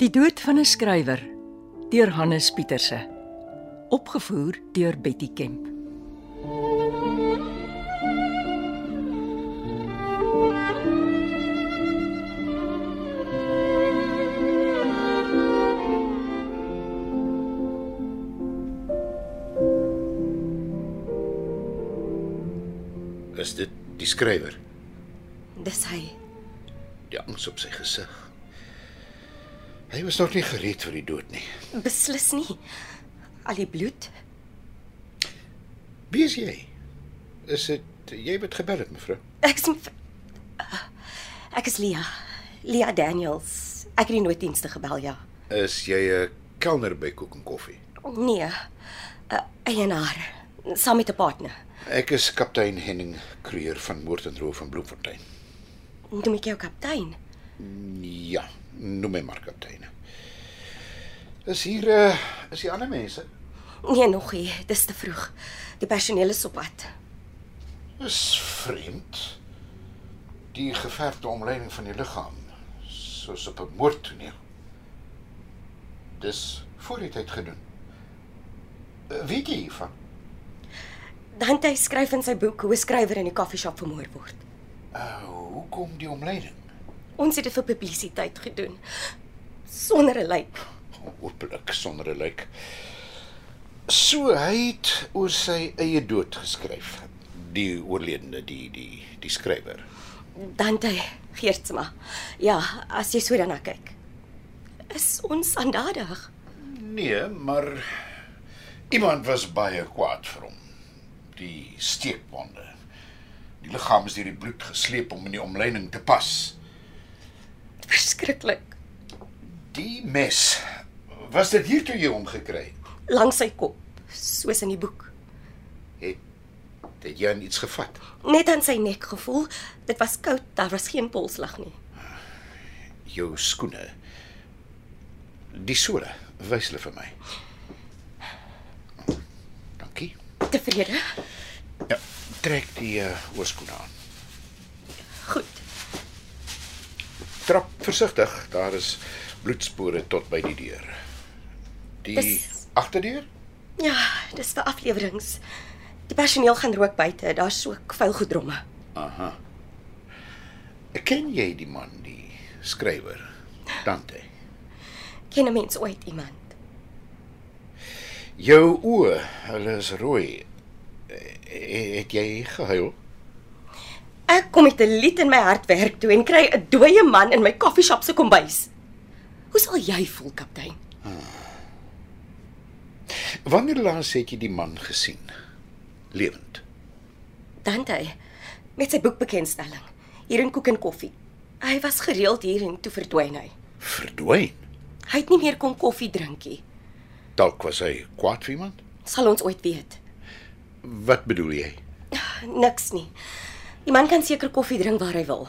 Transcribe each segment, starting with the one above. Die dood van 'n skrywer deur Hannes Pieterse opgevoer deur Betty Kemp. Is dit die skrywer? Dis hy. Die angs op sy gesig. Hy was nog nie gereed vir die dood nie. Beslis nie. Al die bloed. Wie is jy? Is dit jy wat gebel het, mevrou? Ek is mev- Ek is Lia. Lia Daniels. Ek het die nooddienste gebel, ja. Is jy 'n kelner by Koek en Koffie? Nee. 'n Eienaar saam met 'n partner. Ek is kaptein Henning Kreur van Moord en Roof van Bloemfontein. Noem ek jou kaptein? Ja, noem my maar kaptein. Is hier eh is die ander mense? Nee, nog nie. Dis te vroeg. Die personeel is op pad. Is vreemd. Die geverfde omleiding van die liggaam soos op 'n moordtoneel. Dis voor die tyd gedoen. Eh, Weet jy hiervan? Dante skryf in sy boek hoe 'n skrywer in die koffieshop vermoor word. Uh, hoekom die omleiding? Ons het dit vir publisiteit gedoen sonder 'n lyk. Oopelik sonder 'n lijk. So hy het oor sy eie dood geskryf. Die oorledene, die die die skrywer. Dante Geertsma. Ja, as jy so daarna kyk. Is ons aandadig? Nee, maar iemand was baie kwaad vir hom. Die steekwonde. Die liggaam is deur die bloed gesleep om in die omleiding te pas. Verskriklik. Die mes. Was dit hier toe jy hom gekry het? Langs sy kop, soos in die boek. Het jy aan iets gevat? Net aan sy nek gevoel. Dit was koud, daar was geen polslag nie. Jou skoene. Die sole. Wys hulle vir my. Dankie. Tevrede? Ja, trek die uh, oorskoene aan. Goed. Trap versigtig, daar is bloedspore tot by die deur. Die Dis- agterdeur? Ja, dis vir afleweringe. Die personeel gaan rook buite. Daar's so vuil gedromme. Aha. Ken jy die man, die skrywer? Dante. Ken 'n mens ooit iemand? Jou oë, hulle is rooi. Eh, Het jy gehuil? Ek kom met 'n lied in my hart werk toe en kry 'n dooie man in my koffieshop se kombuis. Hoe sal jy voel, kaptein? Wanneer laas het jy die man gesien? Lewend. Dante met sy boekbekendstelling hier in Koek en Koffie. Hy was gereeld hier en toe verdwyn hy. Verdwyn. Hy het nie meer kom koffie drink nie. Dalk was hy kwaad vir iemand? Sal ons ooit weet? Wat bedoel jy? Niks nie. Die man kan seker koffie drink waar hy wil.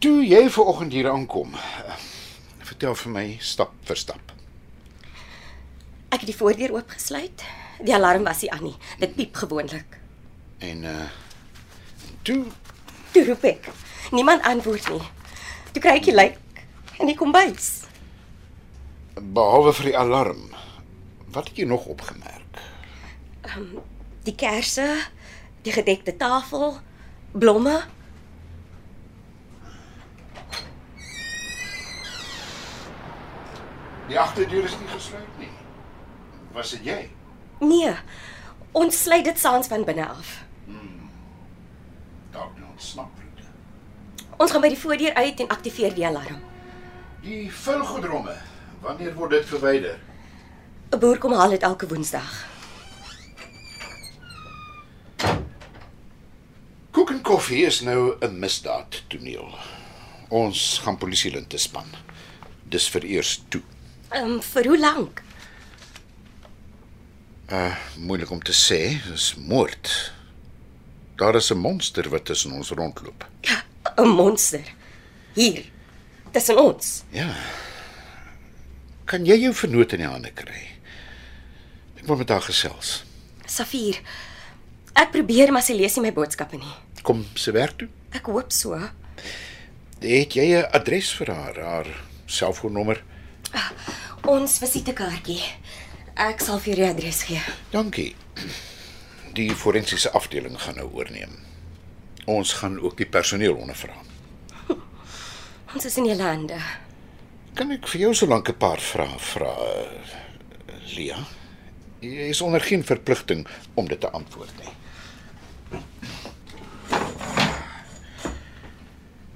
Toe jy ver oggend hier aankom, eh, vertel vir my stap vir stap. Ek het die voordeur oopgesluit. Die alarm was nie aan nie. Dit piep gewoonlik. En uh toe Toe roep ek. Niemand antwoord nie. Toe kry ek die lijk in die kombuis. behalwe vir die alarm, wat het jy nog opgemerk? Die kersse, die gedekte tafel, blomme. Die agterdeur is nie gesluit nie. Was dit jy? Nee. Ons sluit dit saans van binne af. Dalk nou snaproete. Ons gaan by die voordeur uit en aktiveer die alarm. Die vulgedromme, wanneer word dit verwyder? 'n Boer kom haal dit elke Woensdag. Koek en koffie is nou 'n misdaad toneel. Ons gaan polisielinte span. Dis vereers toe. Ehm um, vir hoe lank? Moeilik om te sê, dis moord. Daar is 'n monster wat tussen ons rondloop. Ja, 'n Monster. Hier. Tussen ons. Ja. Kan jy jou vernoot in die hande kry? Ek wil met haar gesels. Safier. Ek probeer maar sy lees nie my boodskappe nie. Kom se werk toe. Ek hoop so. Het jy 'n adres vir haar, haar selfoonnommer? Ons visitekaartjie. Ek sal vir jou die adres gee. Dankie. Die forensiese afdeling gaan nou oorneem. Ons gaan ook die personeel ondervra. Ons is in julle hande. Kan ek vir jou so lank 'n paar vrae vra, eh, Lia? Jy is onder geen verpligting om dit te antwoord nie.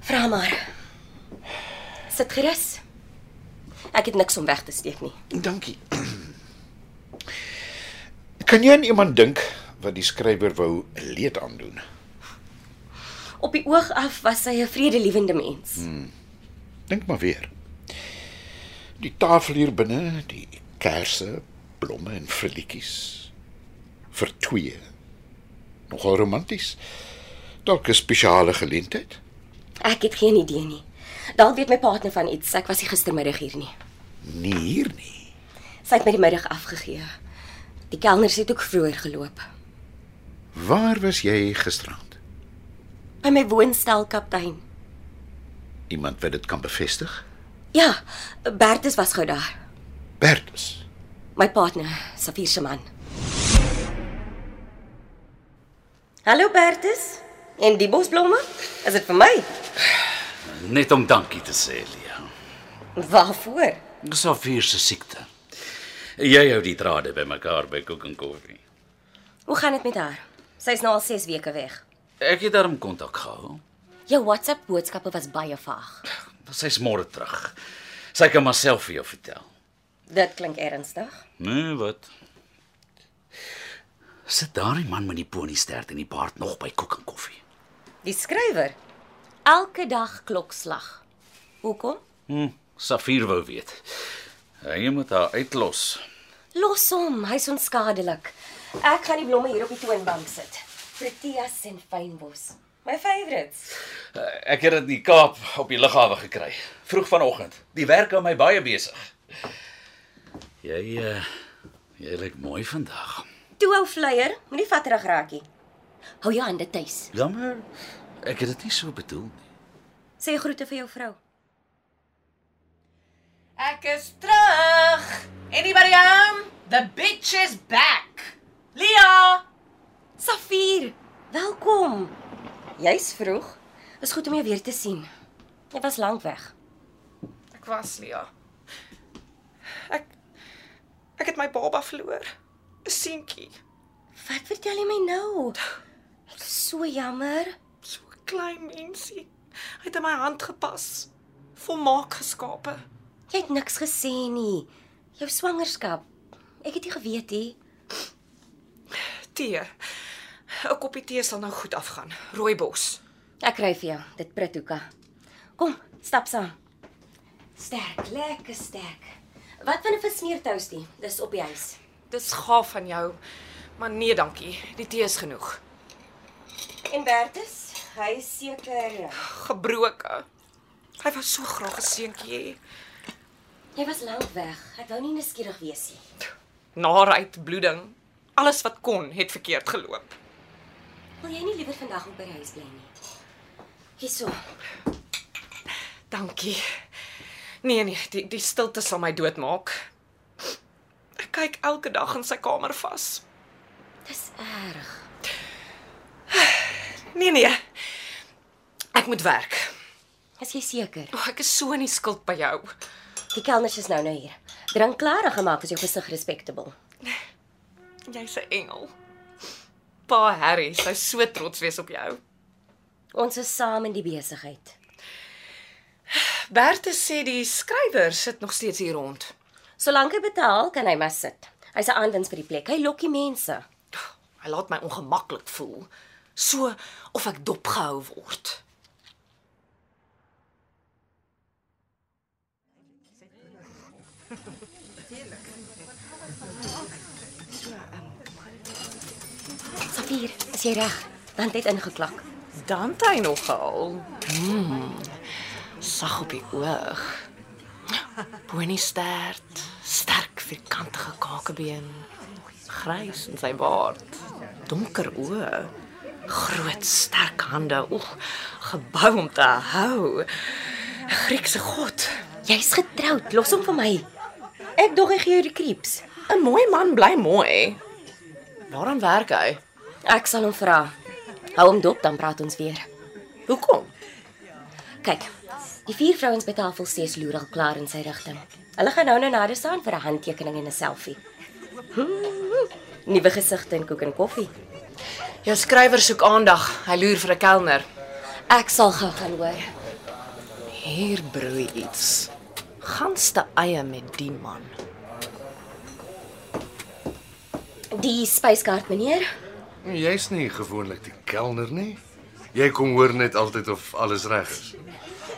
Vra maar. Sit gerus. Ek het niks om weg te steek nie. Dankie. Kan jy aan iemand dink wat die skrywer wou leed aandoen? Op die oog af was hy 'n vredelievende mens. Dink maar weer. Die tafel hier binne, die kersse, blomme en frilletjies vir twee. Nogal romanties. Dalk 'n spesiale geleentheid. Ek het geen idee nie. Dalk weet my partner van iets. Ek was nie gistermiddag hier nie. Nie hier nie. Sy het my die middag afgegee. Die kelners het ook vroeër geloop. Waar was jy gisterand? By my woonstel kaptein. Iemand wat dit kan bevestig? Ja, Bertus was gou daar. Bertus. My partner, Safier se man. Hallo Bertus. En die bosblomme? Is dit vir my? Net om dankie te sê, Lia. Waarvoor? Dis al vier se siekte. Jy hou die drade bymekaar by koek en koffie. Hoe gaan dit met haar? Sy's nou al 6 weke weg. Ek het daarom kontak gehou. Jou WhatsApp boodskappe was baie vaag. Sy's môre terug. Sy kan myself vir jou vertel. Dit klink ernstig. Nee, wat? Sit daardie man met die poniestert en die baard nog by koek en koffie. Die skrywer. Elke dag klokslag. Hoekom? Hm, Safier wou weet. Hy moet haar uitlos. Los hom, hy's onskadelik. Ek gaan die blomme hier op die toonbank sit. Proteas en fynbos. My favorites. Eh, Ek het dit in die Kaap op die lughawe gekry, vroeg vanoggend. Die werk hou my baie besig. Jy eh jy lyk mooi vandag. Toe ou flyer, moenie vatterig raak nie. Hou jou hande tuis. Jammer. Ek het dit nie so bedoel nie. Sê groete vir jou vrou. Ek is terug. Anybody home? The bitch is back. Lia, Safier, welkom. Jy's vroeg. Is goed om jou weer te sien. Jy was lank weg. Ek was Lia. Ek ek het my baba verloor. 'n Seentjie. Wat vertel jy my nou? Ek is so jammer. So 'n klein mensie. Hy het in my hand gepas. Volmaak geskape. Jy het niks gesê nie. Jou swangerskap. Ek het nie geweet nie. Tee. 'n Koppie tee sal nou goed afgaan. Rooibos. Ek kry vir jou dit Prituka. Kom, stap saam. Sterk, lekker sterk. Wat van 'n versmeertoastie? Dis op die huis. Dis gaaf van jou. Maar nee, dankie. Die tee is genoeg. En Bertus, hy is seker Gebroke. Hy wou so graag 'n seentjie hê. jy was lank weg. Ek wou nie nuuskierig wees nie. Naarheid, bloeding. Alles wat kon, het verkeerd geloop. Wil jy nie liewer vandag op by die huis bly nie? Hierso. Dankie. Nee nee, die die stilte sal my doodmaak. Ek kyk elke dag in sy kamer vas. Dis erg. Nee nee. Ek moet werk. Is jy seker? Oh, ek is so in die skuld by jou. Die kelners is nou nou hier. Drink klaar en gemaak as jou gesig respectable. Jy's 'n engel. Pa Harry, hy sou so trots wees op jou. Ons is saam in die besigheid. Bertha sê die skrywer sit nog steeds hier rond. Solank hy betaal, kan hy maar sit. Hy's 'n aanwins vir die plek. Hy lok die mense. Hy laat my ongemaklik voel. So of ek dopgehou word. Safier, is jy reg? Dan het ingeklak. Dan het hy nogal. Mm, sag op die oog. Boonie stert, sterk vierkantige kakebeen, grys in sy baard, donker oë, groot sterk hande, oeg, gebou om te hou. 'n Griekse god. Jy's getroud. Los hom vir my. Ek dog hy gee jou die creeps. 'n Mooi man bly mooi. Waarom werk hy? Ek sal hom vra. Hou hom dop dan praat ons weer. Hoekom? Kyk. Die vier vrouens by tafel sê is loer al klaar in sy rigting. Hulle gaan nou nou nader staan vir 'n handtekening en 'n selfie. Nuwe gesigte in koek en koffie. Jou skrywer soek aandag. Hy loer vir 'n kelner. Ek sal gou gaan hoor. Hier broei iets. Ganste eie met die man. Die spyskaart meneer. Jy's nie gewoonlik die kelner nie. Jy kom hoor net altyd of alles reg is.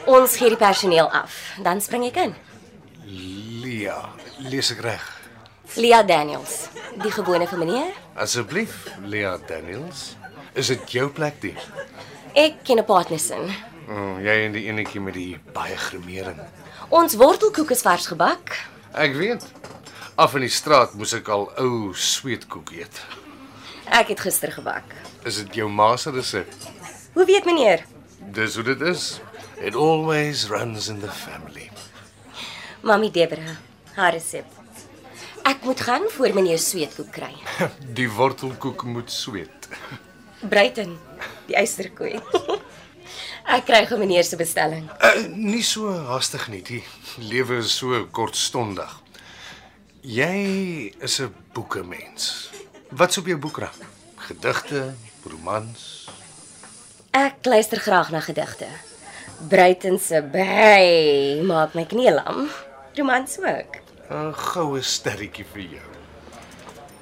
Ons gee die personeel af. Dan spring ek in. Lia, Ja, lees ek reg? Lia Daniels, die gewone van meneer. Asseblief, Lia Daniels. Is dit jou plek die? Ek ken 'n partnersin. Oh, jy en die enetjie met die baie grimering. Ons wortelkoek is vars gebak. Ek weet. Af in die straat moes ek al ou sweetkoek eet. Ek het gister gebak. Is dit jou ma se resep? Hoe weet meneer? Dis hoe dit is. It always runs in the family. Mamy Debra, haar resep. Ek moet gaan voor meneer sweetkoek kry. Die wortelkoek moet sweet. Bruiten, die eysterkoei. ek kry gou meneer se bestelling. Uh, nie so haastig nie. Die lewe is so kortstondig. Jy is 'n boekemens. Wat's op jou boekrak? Gedigte, romans. Ek luister graag na gedigte. Bruiten se by maak my knie lam. Romans ook. 'n Goue sterretjie vir jou.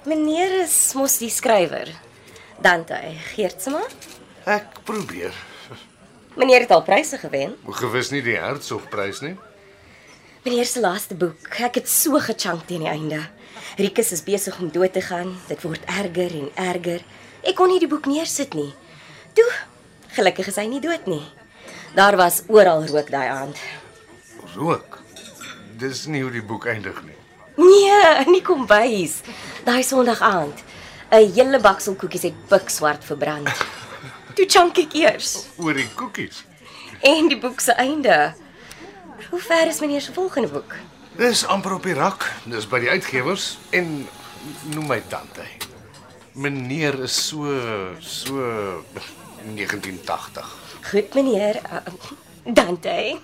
Meneer is mos die skrywer. Dante Geertsma. Ek probeer. Meneer het al pryse gewen. Moet gewis nie die Hertzogprys nie. Meneer se laaste boek. Ek het so gechunk teen die einde. Rikus is besig om dood te gaan. Dit word erger en erger. Ek kon nie die boek neersit nie. Toe, gelukkig is hy nie dood nie. Daar was oral rook daai aand. Rook. Dis nie hoe die boek eindig nie. Nee, nie kom bys. Daai Sondag aand. 'n Hele baksel koekies het pikswart verbrand. Toe chunk ek eers Oor die koekies. en die boek se einde. Hoe ver is meneer se volgende boek? Dis amper op die rak. Dis by die uitgewers en noem my tante. Meneer is so so 1980. Goed meneer, uh, Dante.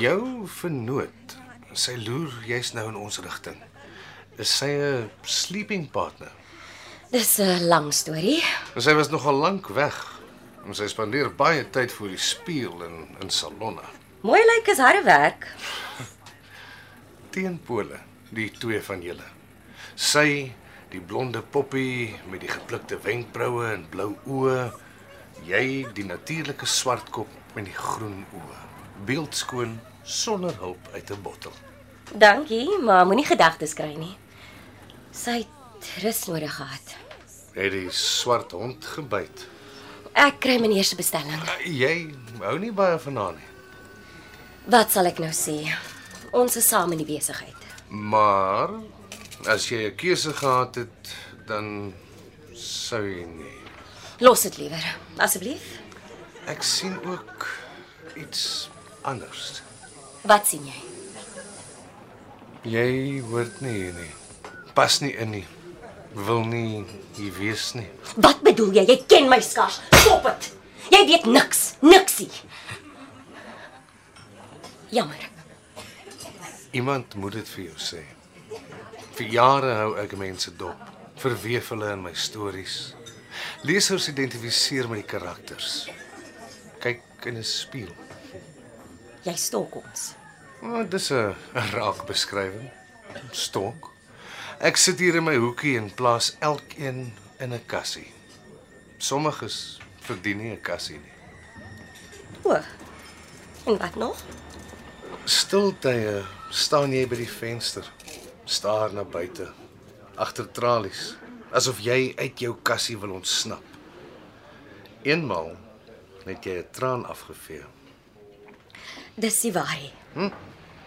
Jou vernoot, sy loer jy's nou in ons rigting. Is sy 'n sleeping partner? Dis 'n lang storie. En sy was nogal lank weg. En sy spandeer baie tyd voor die spieël en in salonne. Mooi lyk is harde werk. Teenpole, die twee van julle. Sy, die blonde poppie met die geplukte wenkbroue en blou oë, jy die natuurlike swartkop met die groen oë. Beeldskoon sonder hulp uit 'n bottel. Dankie, maar moenie gedagtes kry nie. Sy het rus nodig gehad. Het die swart hond gebyt. Eh, Ek kry meneer se bestelling. Jy hou nie baie van haar nie. Wat sal ek nou sê? Ons is saam in die besigheid. Maar as jy 'n keuse gehad het, dan sou jy nie. Los dit liewer, asseblief. Ek sien ook iets anders. Wat sien jy? Jy hoort nie hier nie. Pas nie in nie. Wil nie hier wees nie. Wat bedoel jy? Jy ken my skars. Stop dit. Jy weet niks, niksie. Jammer. Iemand moet dit vir jou sê. Vir jare hou ek mense dop, verweef hulle in my stories. Lesers identifiseer met die karakters. Kyk in 'n spieël. Jy stalk ons. Oh, dis 'n raakbeskrywing. Stonk. Ek sit hier in my hoekie en plaas elkeen in 'n kassie. Sommiges verdien nie 'n kassie nie. O. En wat nog? Stiltye staan jy by die venster, staar na buite, agter tralies, asof jy uit jou kassie wil ontsnap. Eenmal het jy 'n traan afgevee. Dis die waarheid.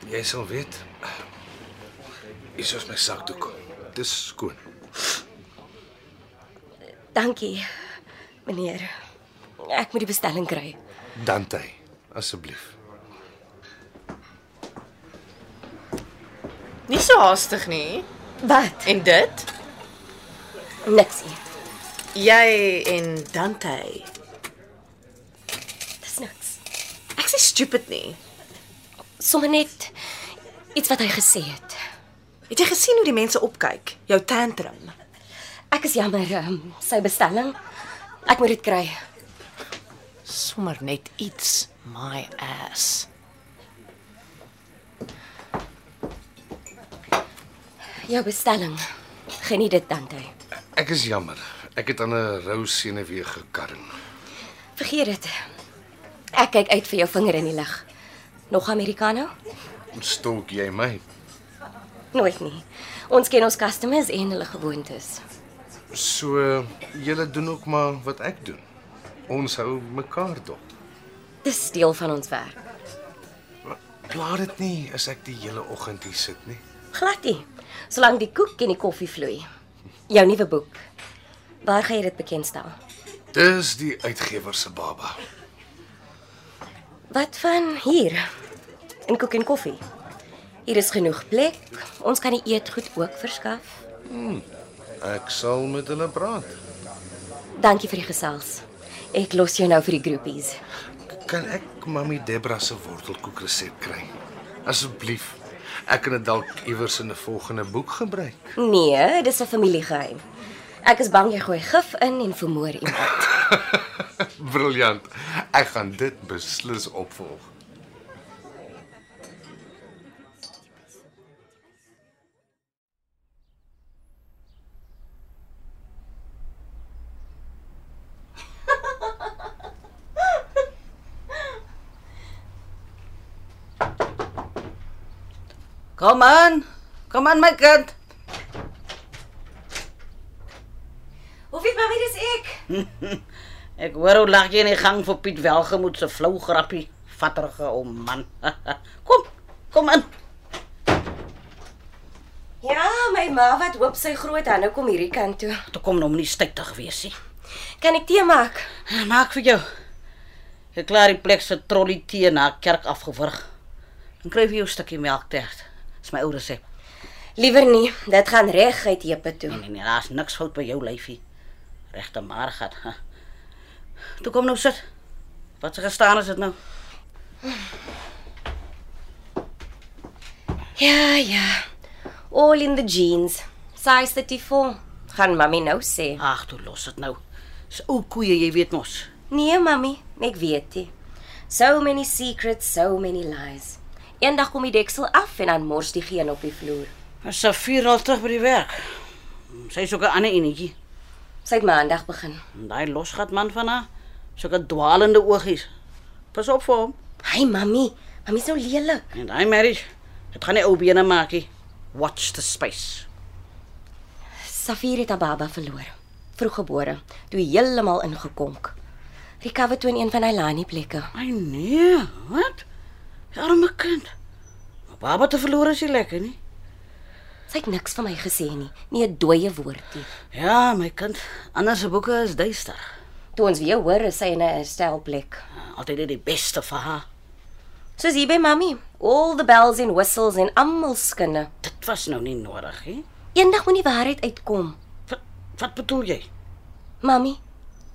Jy sal weet. Hier is my sakdoek. Dis skoon. Dankie, meneer. Ek moet die bestelling kry. Dante, asseblief. Nie so haastig nie. Wat? En dit? Niks nie. Jy en Dante. Dis niks. Ek sê stupid nie. Sommige net iets wat hy gesê het. Het jy gesien hoe die mense opkyk? Jou tantrum. Ek is jammer, um, sy bestelling. Ek moet dit kry. Sommer net iets my ass. Jou bestelling. Geniet dit dan hy. Ek is jammer. Ek het aan 'n rou senuwee gekarring. Vergeet dit. Ek kyk uit vir jou vinger in die lug. Nog Americano? Stok jy my? Nooit nie. Ons ken ons customers en hulle gewoontes. So julle doen ook maar wat ek doen. Ons hou mekaar dop. Dis deel van ons werk. Plaat dit nie as ek die hele oggend hier sit nie. Glad nie. Solank die koek en die koffie vloei. Jou nuwe boek. Waar gaan jy dit bekendstel? Dis die uitgewer se baba. Wat van hier? In koek en koffie. Hier is genoeg plek. Ons kan die eetgoed ook verskaf. Ek sal met hulle praat. Dankie vir die gesels. Ek los jou nou vir die groepies. Kan ek mami Debra se wortelkoek resep kry? Asseblief. Ek kan dit dalk iewers in 'n volgende boek gebruik. Nee, dis 'n familiegeheim. Ek is bang jy gooi gif in en vermoor iemand. Briljant. Ek gaan dit beslis opvolg. Kom aan. Kom aan my kind. Hoef nie baie dis ek. Ek hoor hoe lag jy in die gang vir Piet Welgemoed se flou grappie. Vatterige ou man. kom, kom in. Ja, my ma wat hoop sy groot hande kom hierdie kant toe. Toe kom nou nie stytig wees nie. Kan ek tee maak? Maak vir jou. Ek klaar die plek se trolly tee na kerk afgewurg. Dan kry jy jou stukkie melktert. Dis my ou resep. Liewer nie, dit gaan reg uit heupe toe. Nee nee, daar's niks fout by jou lyfie. Regte maar gat. ha. Toe kom nou sit. Wat se gestaan is dit nou? Ja, ja. All in the jeans. Size 34. Gaan mami nou sê. Ag, toe los dit nou. Dis ou koeie, jy weet mos. Nee, mami, ek weet dit. So many secrets, so many lies. Eendag kom die deksel af en dan mors die geen op die vloer. Ons sal vier al terug by die werk. Sy is ook 'n ander enetjie. Sy het maandag begin. En Daai losgat man van haar, sulke dwalende oogies. Pas op vir hom. Hi mami, mami is nou lelik. En daai marriage, dit gaan nie ou bene maak nie. Watch the space. Safir het haar baba verloor. Vroeggebore, toe heeltemal ingekonk. Recover toe in een van Ailani plekke. Ai nee, wat? Die arme kind. Maar baba te verloor is nie lekker nie. Sy het niks van my gesê nie, nie 'n dooie woordie. Ja, my kind, ander se boeke is duister. Toe ons weer hoor is sy in 'n herstelplek. Altyd net die beste vir haar. Soos hier by mami, all the bells and whistles en almal skinne. Dit was nou nie nodig nie. Eendag moet die waarheid uitkom. Wat wat bedoel jy? Mami,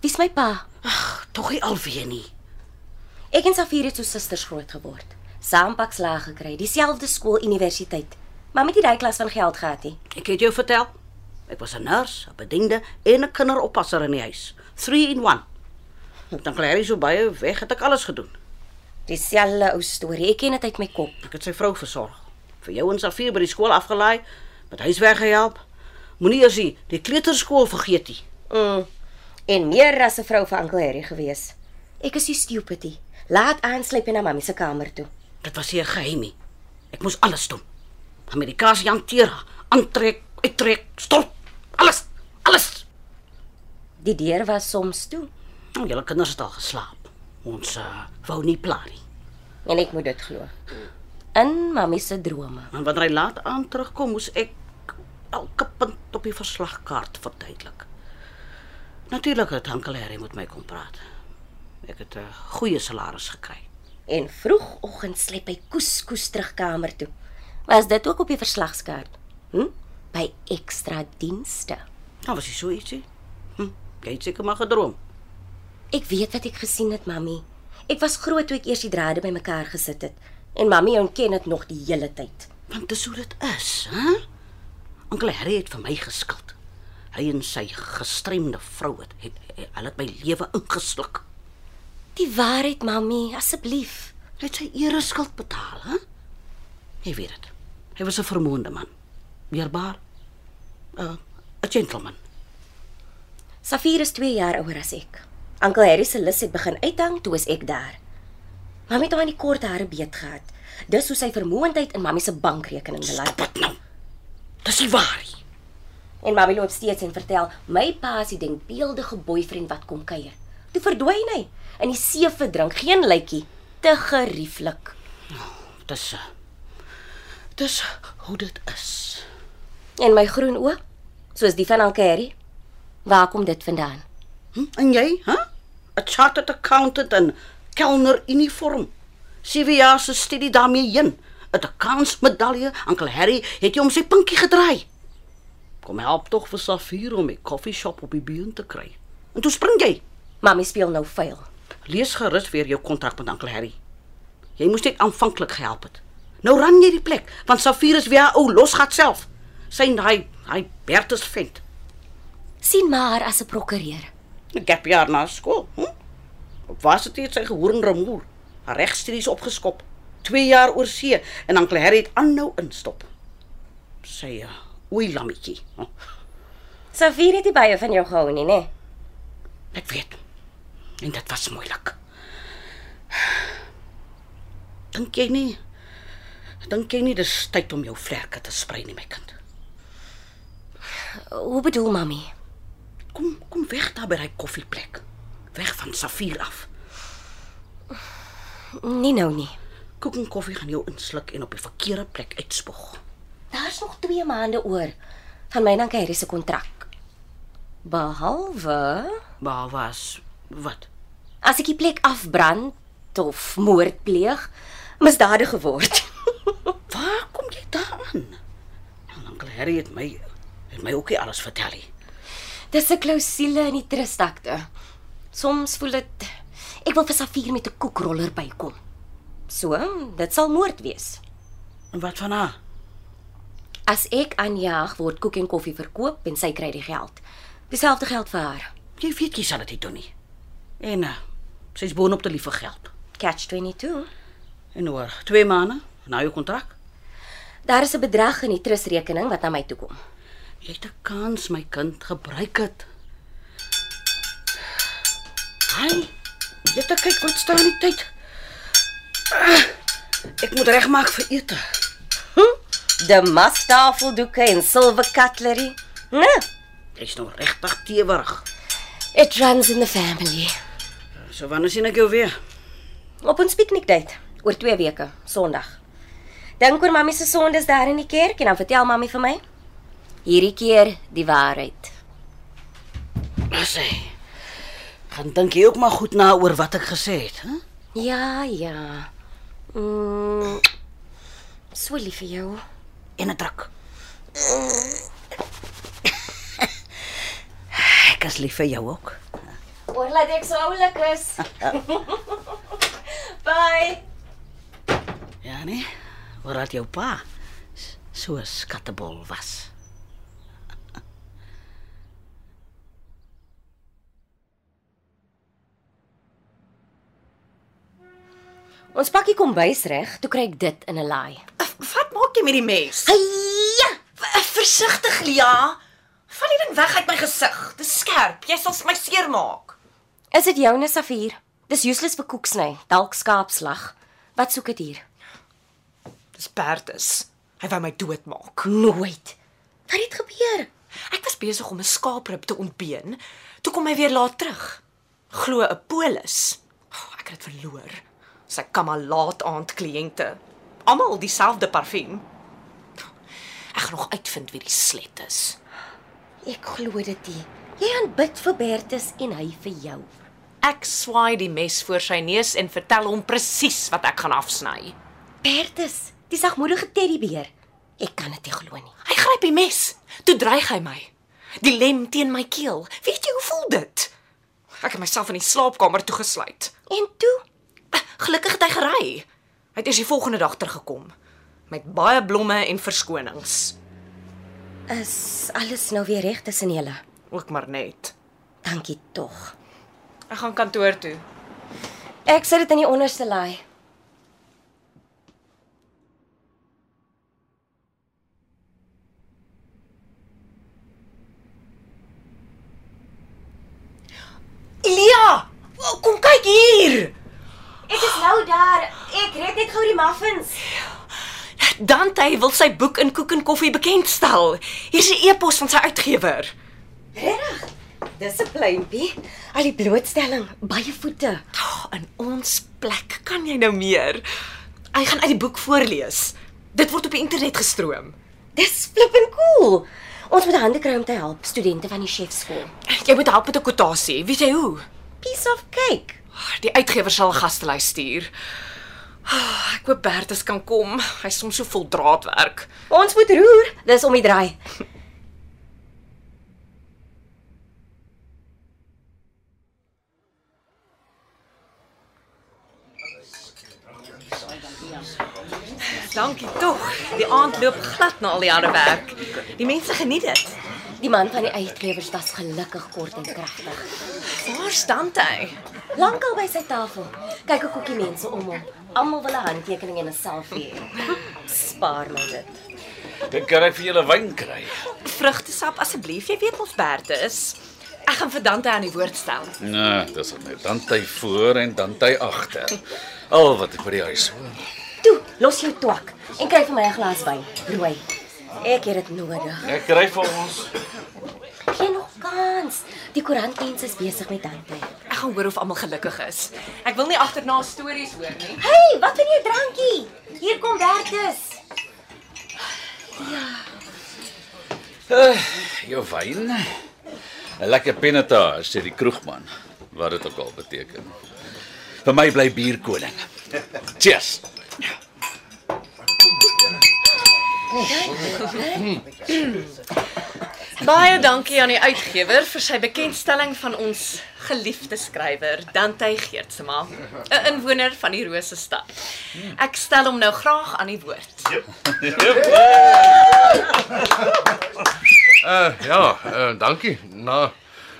wie's my pa? Ag, tog nie alweer nie. Ek en Safir het so susters groot geword. Saam pakslaag gekry, dieselfde skool, universiteit. Mami het nie daai klas van geld gehad nie. Ek het jou vertel. Ek was 'n nurse, 'n bediende en 'n kinderoppasser in die huis. 3 in 1. Dan klaar is so baie weg het ek alles gedoen. Dieselfde ou storie. Ek ken dit uit my kop. Ek het sy vrou versorg. Vir jou en Safie by die skool afgelaai, met huiswerk gehelp. Moenie eers die, die kleuterskool vergeet nie. Mm. en meer as 'n vrou vir Uncle Harry gewees. Ek is nie stupid nie. Laat aanslyp en na mamma se kamer toe. Dit was hier geheimie. Ek moes alles doen. Amerikaanse hanteer, aantrek, uittrek, stort, alles, alles. Die deur was soms toe Nou, julle kinders het al geslaap. Ons uh, wou nie pla nie. en ek moet dit glo. In mamma se drome. En wanneer hy laat aan terugkom, moes ek elke punt op die verslagkaart verduidelik. Natuurlik het Hankel Harry met my kom praat. Ek het 'n goeie salaris gekry. En vroegoggend slep hy koeskoes terug kamer toe. Was dit ook op die verslagskaart? Hm? By ekstra dienste. Nou was hy so ietsie. Hm, jy het seker maar gedroom. Ek weet wat ek gesien het, mammy. Ek was groot toe ek eers die drade bymekaar gesit het en mammy ontken dit nog die hele tyd. Want dis hoe dit is, hè? Onkel Harry het vir my geskild. Hy en sy gestremde vrou het, het, het hulle het my lewe ingesluk. Die waarheid, mammy, asseblief. Hy het sy ere skuld betaal, hè? Jy weet dit. Hy was 'n vermoënde man. Weerbaar. 'n 'n gentleman. Safir is 2 jaar ouer as ek. Oom Harry se lus het begin uithang toe is ek daar. Mammy het haar in die kort hare beet gehad. Dis hoe sy vermoëndheid in mammy se bankrekening beland. Wat nou? Dis nie waar nie. En mammy loop steeds en vertel, "My pa is die denkbeeldige boyfriend wat kom kuier." Toe verdwyn hy in die see verdrink, geen lykie, te gerieflik. Dis eh, Dis hoe dit is. En my groen oë, soos die van Alkeri. Waar kom dit vandaan? Hm? En jy, hè? 'n Chartered accountant en kelner uniform. Sewe jaar se studie daarmee heen. 'n Accountsmedalje. Onkel Harry het hom sy pinkie gedraai. Kom help tog vir Safir om 'n koffieshop op die been te kry. En toe spring jy. Mamy speel nou vuil. Lees gerus weer jou kontrak met Onkel Harry. Jy moes net aanvanklik gehelp het. Nou ran jy die plek, want Safir is weer haar ou losgat self. Sy en hy, hy Bertus vent. sien maar as 'n prokureur. 'n Gap jaar na skool. Hm? Op was dit hier sy gehoorn remoer. Haar regstudies opgeskop. 2 jaar oor see en Onkel Harry het aanhou instop. Sy uh, oei lammetjie. Hm? Safir het nie baie van jou gehou nie, né? Ek weet. En dit was moeilik. Dink jy nie? Dink jy nie dis tyd om jou vlerke te sprei nie, my kind? Hoe bedoel mamy? Kom, kom weg daar by daai koffieplek. Weg van Safir af. Nie nou nie. Koek en koffie gaan jou insluk en op die verkeerde plek uitspoeg. Daar's nog 2 maande oor van my en Alkeri se kontrak. Behalwe Waar was wat? as ek die plek afbrand of moord pleeg, misdadige word. Waar kom jy daaraan? Nou, Onkel Harry het my het my ook nie alles vertel nie. Dis 'n klousule in die trustakte. Soms voel dit ek wil vir Safir met 'n koekroller bykom. So, dit sal moord wees. En wat van haar? As ek aanjaag word koek en koffie verkoop en sy kry die geld. Dieselfde geld vir haar. Jy weet jy sal dit nie doen nie. En uh, sy's boonop te lief vir geld. Catch 22. En oor 2 maande na jou kontrak, Daar is 'n bedrag in die trustrekening wat na my toe kom. jy het 'n kans my kind gebruik dit. Haai. Jy het kyk wat staan die tyd. Ah, Ek moet regmaak vir ete. De mastafeldoeke en silwer cutlery. Nee, Jy's nou regtig teewerig. it runs in the family. So wanneer sien ek jou weer? Op ons piknikdate oor 2 weke, Sondag. Dink oor mammie se sondes daar in die kerk en dan vertel mammie vir my hierdie keer die waarheid. Sê. Gaan dink jy ook maar goed na oor wat ek gesê het, hè? Ja, ja. Mm, so lief vir jou. en 'n druk. Ek is lief vir jou ook. Oor laat ek so oulik is. Bye. Ja nee. Waar het jou pa s- so 'n skattebol was? Ons pak die kombuis reg, toe kry ek dit in 'n laai. ja, Wat maak jy met die mes? Hye! Versigtig, Lia. Val die ding weg uit my gesig. Dis skerp. Jy sal my seermaak. Is dit joune Safier? Dis useless vir koeksny, dalk skaapslag. Wat soek dit hier? Dis Bertus. Hy wou my doodmaak. Nooit. Wat het gebeur? Ek was besig om 'n skaaprib te ontbeen, toe kom hy weer laat terug. Glo 'n polis. Oh, ek het dit verloor. Sy kamma laat aand kliënte. Almal dieselfde parfuum. Ek gaan nog uitvind wie die slet is. Ek glo dit nie. Jy aanbid vir Bertus en hy vir jou. Ek swaai die mes voor sy neus en vertel hom presies wat ek gaan afsny. Bertus, die sagmoedige teddybeer. Ek kan dit nie glo nie. Hy gryp die mes. Toe dreig hy my. Die lem teen my keel. Weet jy hoe voel dit? Ek het myself in die slaapkamer toegesluit. En toe, Gelukkig het hy gery. Hy het eers die volgende dag teruggekom met baie blomme en verskonings. is alles nou weer reg tussen julle. Ook maar net. Dankie tog. Ek gaan kantoor toe. Ek sit dit in die onderste laai. Elia, kom kyk hier. Ek is nou daar. Ek red net gou die muffins. Dante wil sy boek in Koek en Koffie bekendstel. Hier's 'n e-pos van sy uitgewer. Dis 'n pleintjie. Al die blootstelling, baie voete. Oh, in ons plek kan jy nou meer. Hy gaan uit die boek voorlees. Dit word op die internet gestroom. Dis flippin cool. Ons moet hande kry om te help studente van die chefskool. Jy moet help met 'n kwotasie. Weet jy hoe? Piece of cake. Die uitgewer sal 'n gaslys stuur. Ah, Ek hoop Bertus kan kom. Hy's soms so vol draadwerk. Ons moet roer. Dis om die draai. Dankie tog. Die aand loop glad na al die harde werk. Die mense geniet dit. Die man van die uitgewers was gelukkig kort en kragtig. Waar staan hy? Lankal by sy tafel. Kyk hoe koekie mense om hom. Almal wil 'n handtekening en 'n selfie hê. Spaar my dit. Dink kan ek vir julle wyn kry? Vrugtesap asseblief. Jy weet mos Bertus. Ek gaan vir Dante aan die woord stel. Nee, dis dit net. Dan ty voor en dan ty agter. Al wat ek by die huis hoor. Toe, los jou twak en kry vir my 'n glas wyn. Rooi. Ek het dit nodig. Ek kry vir ons. Geen nog kans. Die koerantmense is besig met handtekening. Ek gaan hoor of almal gelukkig is. Ek wil nie agterna stories hoor nie. Hey, wat wil jy drankie? Hier kom Bertus. Uh, jou wyn. 'n Lekker pinotage, sê die kroegman, wat dit ook al beteken. Vir my bly bier koning. Cheers. Baie dankie aan die uitgewer vir sy bekendstelling van ons geliefde skrywer Dante Geertsma, 'n inwoner van die Rose stad. Ek stel hom nou graag aan die woord. Uh ja, uh, dankie. Na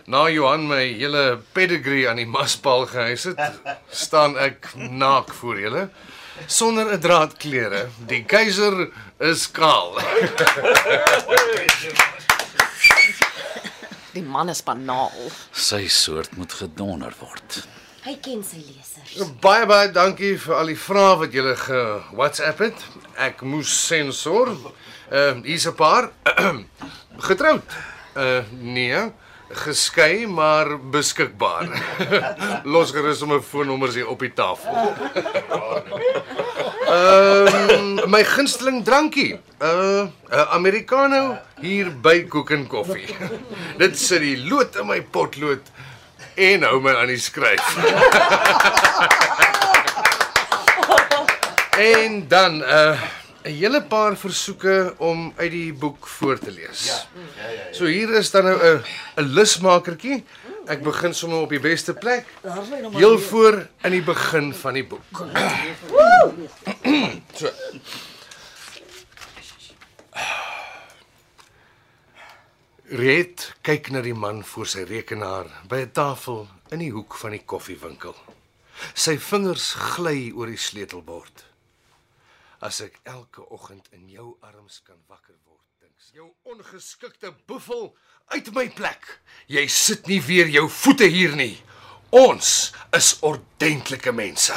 na Johan my hele pedigree aan die maspaal gehuis het, staan ek naak voor julle sonder 'n draad klere. Die keiser is kaal. Die man is banaal. Sy soort moet gedonder word. Hy ken sy lesers. Baie baie dankie vir al die vrae wat julle ge WhatsApp het. Ek moes sensor. Ehm uh, hier's 'n paar. Getroud. Uh nee, geskei maar beskikbaar. Los gerus om 'n foonnommers hier op die tafel. Ehm my gunsteling drankie. Uh 'n Americano hier by Koek en Koffie. Dit sit die lood in my potlood en hou my aan die skryf. en dan uh 'n hele paar versoeke om uit die boek voor te lees. So hier is dan nou 'n 'n lusmakertjie. Ek begin sommer op die beste plek. Heel voor in die begin van die boek. so. Red kyk na die man voor sy rekenaar by 'n tafel in die hoek van die koffiewinkel. Sy vingers gly oor die sleutelbord. As ek elke oggend in jou arms kan wakker word, dink sy. Jou ongeskikte buffel uit my plek. Jy sit nie weer jou voete hier nie. Ons is ordentlike mense.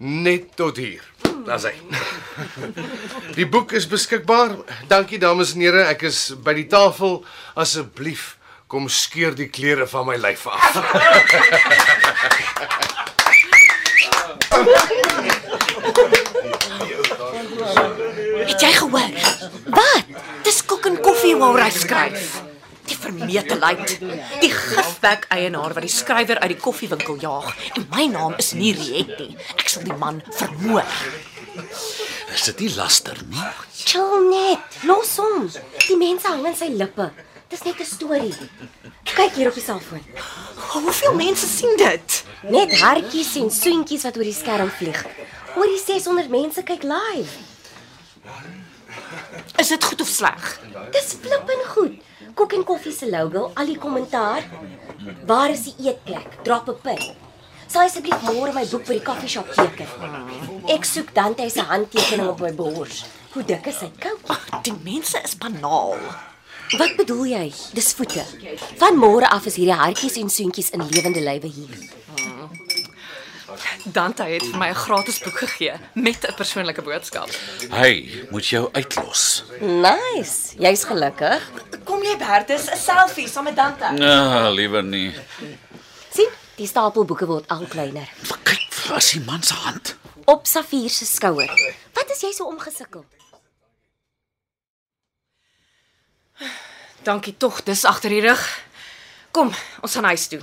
Net tot hier. Daar's hy. Die boek is beskikbaar. Dankie dames en here, ek is by die tafel. Asseblief kom skeur die klere van my lyf af. Het jy gehoor? Wat? Dis kok en koffie waar hy skryf. Die vermeete luid. Die gifwerk eienaar wat die skrywer uit die koffiewinkel jaag. En my naam is nie Riet nie. Ek sal die man vermoor. Is dit nie laster nie? Chill net. Los hom. Die mense hang aan sy lippe. Dis net 'n storie. Kyk hier op die selfoon. Hoeveel mense sien dit? Net hartjies en soentjies wat oor die skerm vlieg. Oor die 600 mense kyk live. Is dit goed of sleg? Dis flippend goed. Kok en koffie se logo, al die kommentaar. Waar is die eetplek? Drop 'n pin. Sal asseblief môre my boek by die koffieshop teken. Ek soek Dante se handtekening op my bors. Hoe dik is sy koutjie? Die mense is banaal. Wat bedoel jy? Dis voete. Van môre af is hierdie hartjies en soentjies in lewende lywe hier. Dante het vir my 'n gratis boek gegee met 'n persoonlike boodskap. Hy moet jou uitlos. Nice. Jy's gelukkig. Kom jy Bertus 'n selfie saam met Dante? Nee, liewer nie. sien? Die stapel boeke word al kleiner. Kyk, was die man se hand. Op Safier se skouer. Wat is jy so omgesukkel? Dankie tog, dis agter die rug. Kom, ons gaan huis toe.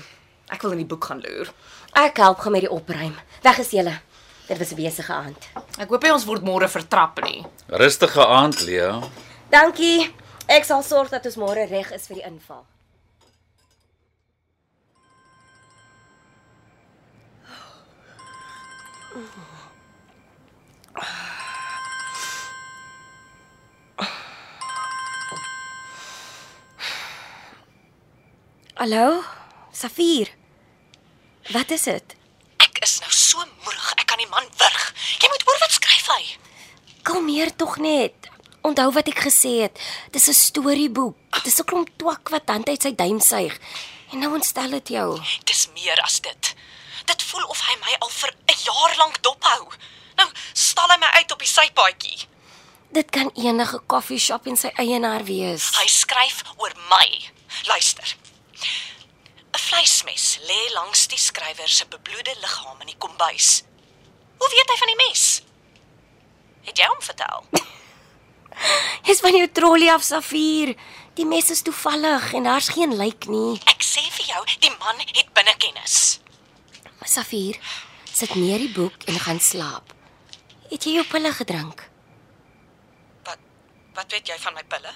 Ek wil in die boek gaan loer. Ek help gaan met die opruim. Weg is julle. Dit was 'n besige aand. Ek hoop hy ons word môre vertrap nie. Rustige aand, Lea. Dankie. Ek sal sorg dat ons môre reg is vir die inval. Hallo, Safier. Wat is dit? Ek is nou so moeg, ek kan die man wurg. Jy moet hoor wat skryf hy. Kalmeer tog net. Onthou wat ek gesê het. Dis 'n storieboek. Dis 'n klomp twak wat tante uit sy duim suig. En nou ontstel dit jou. Dis meer as dit. Dit voel of hy my al vir 'n jaar lank dophou. Nou stal hy my uit op die sypaadjie. Dit kan enige koffieshop en sy eienaar wees. Hy skryf oor my. Luister. 'n Vleismes lê langs die skrywer se bebloede liggaam in die kombuis. Hoe weet hy van die mes? Het jy hom vertel? Jy's van jou trollie af, Safier. Die mes is toevallig en daar's geen lijk nie. Ek sê vir jou, die man het binnekennis. Safier, sit neer die boek en gaan slaap. Het jy jou pille gedrink? Wat wat weet jy van my pille?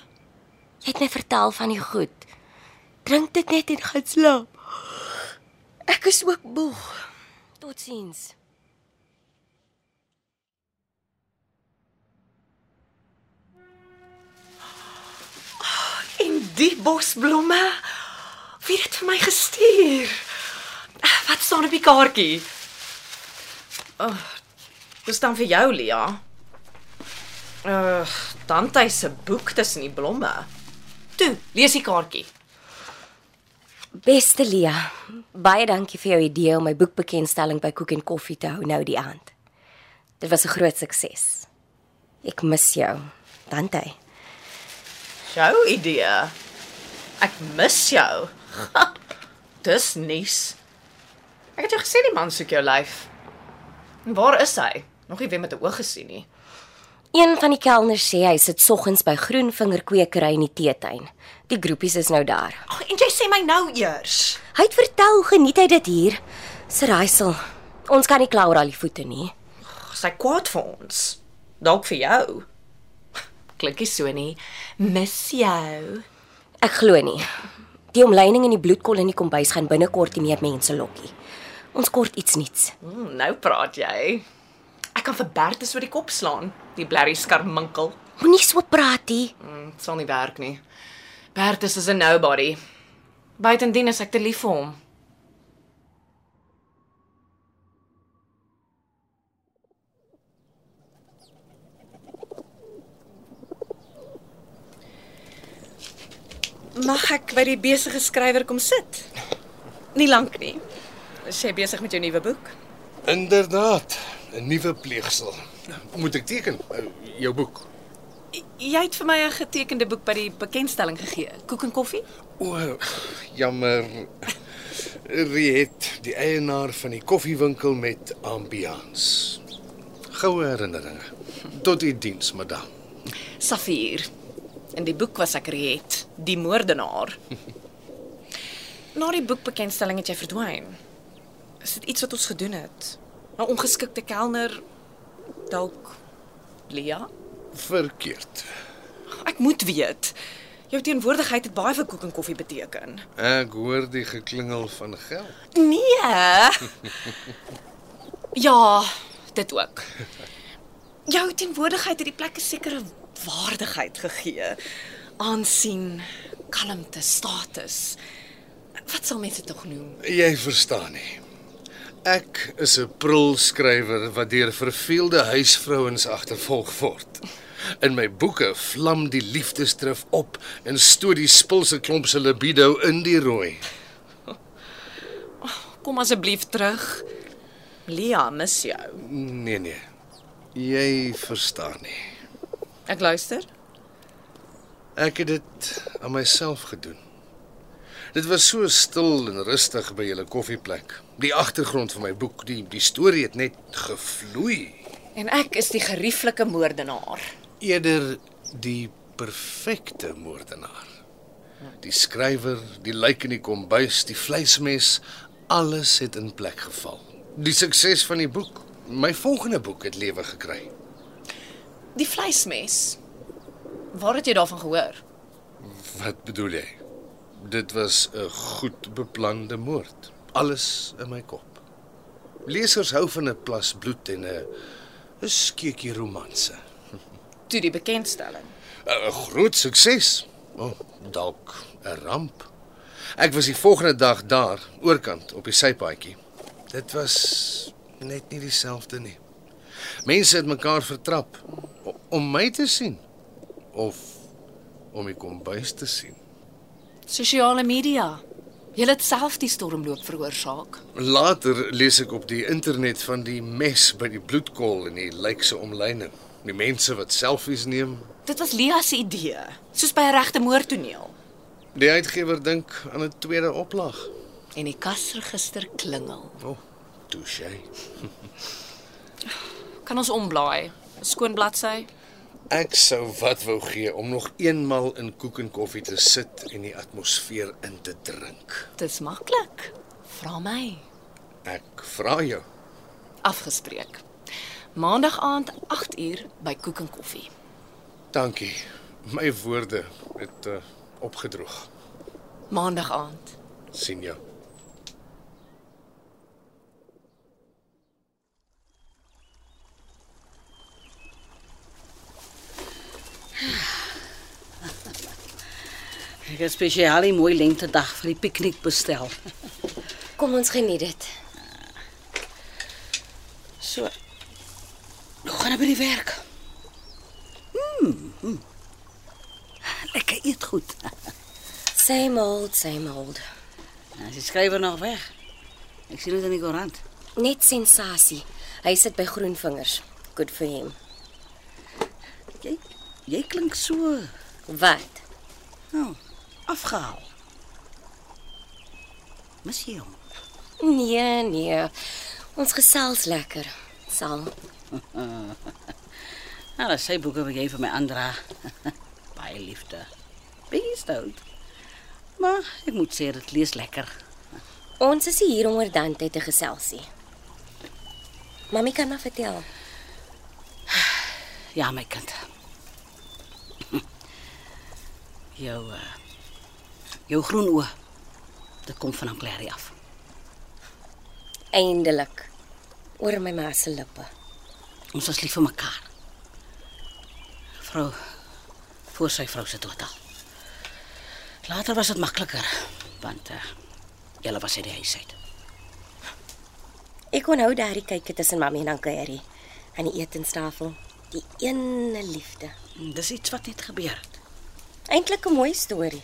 Jy het my vertel van die goed. Drink dit net en gaan slaap. Ek is ook moeg. Totsiens. En die bosblomme. Wie het dit vir my gestuur? Ah, Wat staan op die kaartjie? Oh, dis dan vir jou, Lia. Uh, Dante se boek tussen die blomme. Toe, lees die kaartjie. Beste Lia, baie dankie vir jou idee om my boekbekendstelling by Koek en Koffie te hou nou die aand. Dit was 'n groot sukses. Ek mis jou, Dante. Jou idee. Ek mis jou. Ha, dis nice. Ek het jou gesê die man soek jou lyf. En waar is hy? Nog nie weer met 'n oog gesien nie. Een van die kelners sê hy sit soggens by Groenvinger kweekery in die teetuin. Die groepies is nou daar. Ag, en jy sê my nou eers. Hy het vertel hoe geniet hy dit hier. Sir Haisel, ons kan nie kla oor al die voete nie. Sy kwaad vir ons. Dalk vir jou. Klinkie so nie. Mis jou. Ek glo nie. Die omleining en die bloedkol in die kombuis gaan binnekort nie meer mense lokkie. Ons kort iets niets. Mm, nou praat jy. Ek kan vir Bertus oor die kop slaan. Die blerrie skarminkel. Moenie so praat nie. Mm, dit sal nie werk nie. Bertus is 'n nobody. Buitendien is ek te lief vir hom. Mag ek by die besige skrywer kom sit? Nie lank nie. Is jy besig met jou nuwe boek? Inderdaad, 'n nuwe pleegsel. Moet ek teken Eh, jou boek? Jy het vir my 'n getekende boek by die bekendstelling gegee. Koek en koffie? O, jammer. Riet, die eienaar van die koffiewinkel met ambiance. Goue herinneringe. Tot u diens, madam. Safir. In die boek was ek Riet, die moordenaar. Na die boekbekendstelling het jy verdwyn. Is dit iets wat ons gedoen het? 'n Ongeskikte kelner dalk Lia? Verkeerd. Ek moet weet. Jou teenwoordigheid het baie vir koek en koffie beteken. Ek hoor die geklingel van geld. Nee. Ja, dit ook. Jou teenwoordigheid het die plek 'n sekere waardigheid gegee. Aansien, kalmte, status. Wat sal mense tog noem? Jy verstaan nie. Ek is 'n prulskrywer wat deur verveelde huisvrouens agtervolg word. In my boeke vlam die liefdesdrif op en stoot die spulse klomp se libido in die rooi. Kom asseblief terug. Lia mis jou. Nee nee. Jy verstaan nie. Ek luister. Ek het dit aan myself gedoen. Dit was so stil en rustig by julle koffieplek. Die agtergrond van my boek, die die storie het net gevloei. En ek is die gerieflike moordenaar. eerder die perfekte moordenaar. Die skrywer, die lijk in die kombuis, die vleismes, alles het in plek geval. Die sukses van die boek, my volgende boek het lewe gekry. Die vleismes. Waar het jy daarvan gehoor? Wat bedoel jy? Dit was 'n goed beplande moord. Alles in my kop. Lesers hou van 'n plas bloed en 'n 'n skeutjie romanse. Toe die bekendstelling. 'n groot sukses. Oh, dalk 'n ramp. Ek was die volgende dag daar, oorkant op die sypaadjie. Dit was net nie dieselfde nie. Mense het mekaar vertrap o- om my te sien of om die kombuis te sien. Sosiale media. Jy het self die stormloop veroorsaak. Later lees ek op die internet van die mes by die bloedkol en die lykse omlyning. Die mense wat selfies neem, Dit was Lia se idee, soos by 'n regte moordtoneel. die uitgewer dink aan 'n tweede oplaag. En die kasregister klingel. O, oh, touche. Kan ons omblaai? 'n Skoon bladsy. Ek sou wat wou gee om nog eenmal in koek en koffie te sit en die atmosfeer in te drink. Dis maklik. Vra my. Ek vra jou, Afgespreek. Maandag aand 8uur by Koek en Koffie. dankie. My woorde het uh, opgedroog. Maandag aand. sien jou. Ek het spesiaal 'n mooi lentedag vir die piknik bestel. Kom ons geniet dit. So. Nou gaan ek by die werk. Mm. mm. Lekker eet goed. Same old, same old. As die skrywer nog weg. Ek sien dit in die koerant. Net sensasie. Hy sit by Groenvingers. Good for him. Jy jy klink so Wat? nou, afgehaal. Mis jy hom? Nee, nee. Ons gesels lekker. Sal. Nou, dat sy boeke wat jy vir my aandra. Baie liefde. Bietjie stout. Maar ek moet sê dit lees lekker. Ons is nie hier om oor dan tyd te geselsie. Mamy kan maar vertel. Ja, my kind. Jou eh, jou groen oë. Dit kom van Anclary af. Eindelik. Oor my ma se lippe. Ons was lief vir mekaar. Vrou voor sy vrou se dood al. Later was dit makliker want eh julle was uit die huis uit. Ek onthou daardie kykie tussen mamy en ouma Harry aan die etenstafel. Die ene liefde. Dis iets wat net gebeur het. Eintlik 'n mooi storie.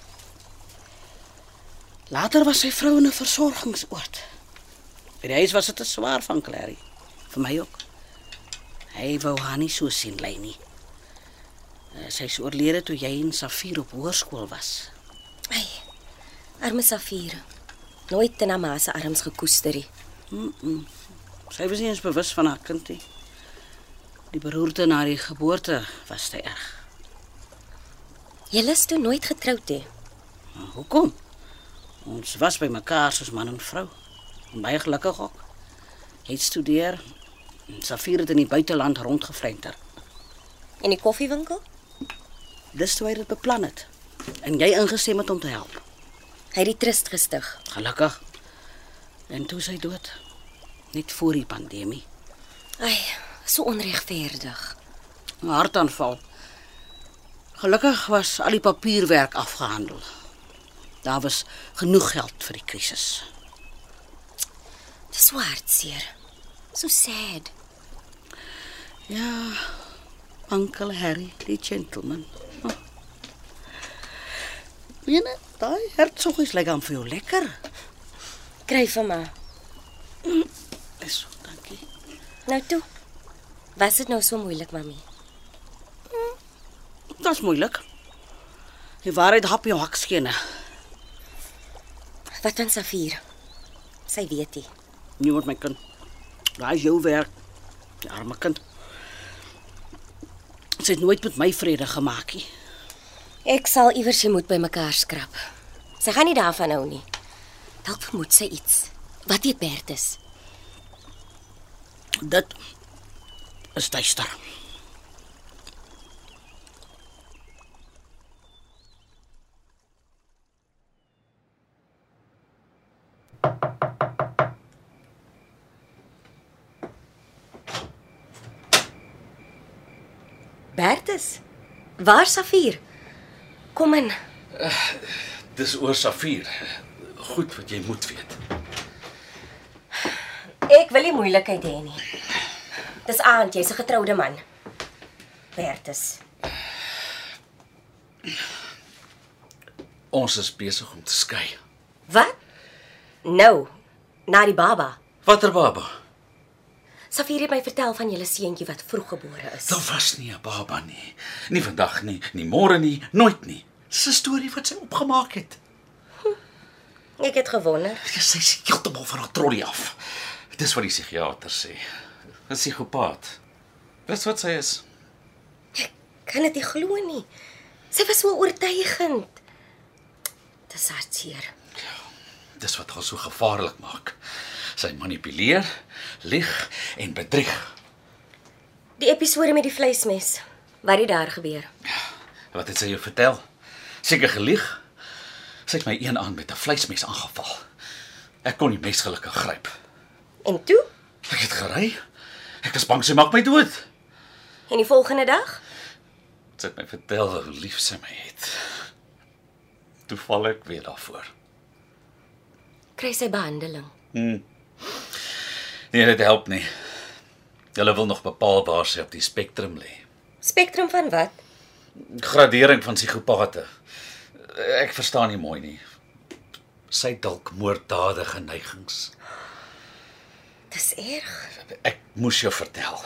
Later was sy vrou in 'n versorgingsoord. By die huis was dit te swaar van Clary. Vir my ook. Hy wou haar nie so sien lei nie. Eh, Sy is oorlede toe jy en Safir op hoërskool was. Arme Safira. Nooit in haar ma se arms gekoester nie. Mm -mm. Sy was nie eens bewus van haar kind nie. Die beroerte na die geboorte was sy erg. Julle is toe nooit getroud hè. Maar hoekom? Ons was by mekaar soos man en vrou. En baie gelukkig ook. Hy het studeer. en Safir het in die buiteland rondgevreiter. In die koffiewinkel? Dis toe hy dit beplan het. En jy ingestem het om te help. Hy het die trust gestig. Gelukkig. En toe is hy dood. Net voor die pandemie. Ai, so onregverdig. 'n Hartaanval. Gelukkig was al die papierwerk afgehandel. Daar was genoeg geld vir die krisis. Dis swaartseer. So sad. Ja, Uncle Harry, die gentleman. Oh. Mene, daai hertsoggies lyk aan vir jou lekker. Kry vir my. Dis so, dankie. Nou toe. Was dit nou so moeilik, mami? Dit's moeilik. Die waarheid hap jou hakskene. Wat van Safir? Sy weet nie. Nie met my kind. Daai is jou werk. Die arme kind. Sy het nooit met my vrede gemaak nie. Ek sal iewers sy moed bymekaar skrap. Sy gaan nie daarvan hou nie. Dalk vermoed sy iets. Wat weet Bertus? Dit is duister. Bertus. Waar Safir? Kom in. Dis oor Safir. Goed wat jy moet weet. Ek wil nie moeilikheid hê nie. Dis aand, jy's 'n getroude man. Bertus. Ons is besig om te skei. Wat? Nou, na die baba. Watter baba? Safir het my vertel van julle seentjie wat vroeggebore is. Daar was nie 'n baba nie. Nie vandag nie, nie môre nie, nooit nie. Dis 'n storie wat sy opgemaak het. Ek het gewonder. Sy's heeltemal van haar trollie af. Dis wat die psigiater sê. 'n Psigopaat. Dis wat sy is. Kan dit nie glo nie. Sy was so oortuigend. Dis hartseer. Dis wat haar so gevaarlik maak. Sy manipuleer, lieg en bedrieg. Die episode met die vleismes. Wat het daar gebeur? Wat het sy jou vertel? Seker gelieg. Sy het my een aan met 'n vleismes aangeval. Ek kon die mes gelukkig gryp. En toe? Ek het gery. Ek was bang sy maak my dood. En die volgende dag? Sy het my vertel hoe lief sy my het. Toe val ek weer daarvoor. Kry sy behandeling. Hmm. Nee, dit help nie. Hulle wil nog bepaal waar sy op die spektrum lê. Spektrum van wat? Gradering van psigopate. Ek verstaan nie mooi nie. Sy het dalk moorddadige neigings. Dis erg. Ek moes jou vertel.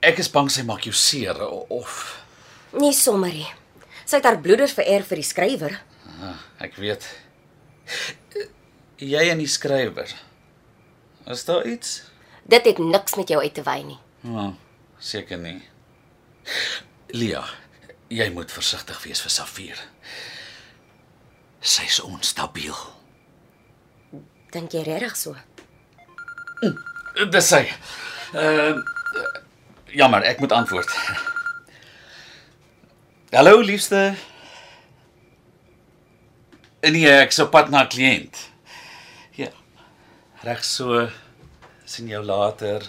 Ek is bang sy maak jou seer o- of Nie sommer nie. Sy het haar bloeders vererf vir die skrywer. ah, ek weet. Jy en die skrywer. Is daar iets? Dit het niks met jou uit te wy nie. Nou, seker nie. Lia, jy moet versigtig wees vir Safir. Sy's onstabiel. Dink jy regtig so? Dis sy. Ehm uh, jammer, ek moet antwoord. Hallo liefste. Nee, ek's op pad na 'n kliënt. Ja. Reg so sien jou later.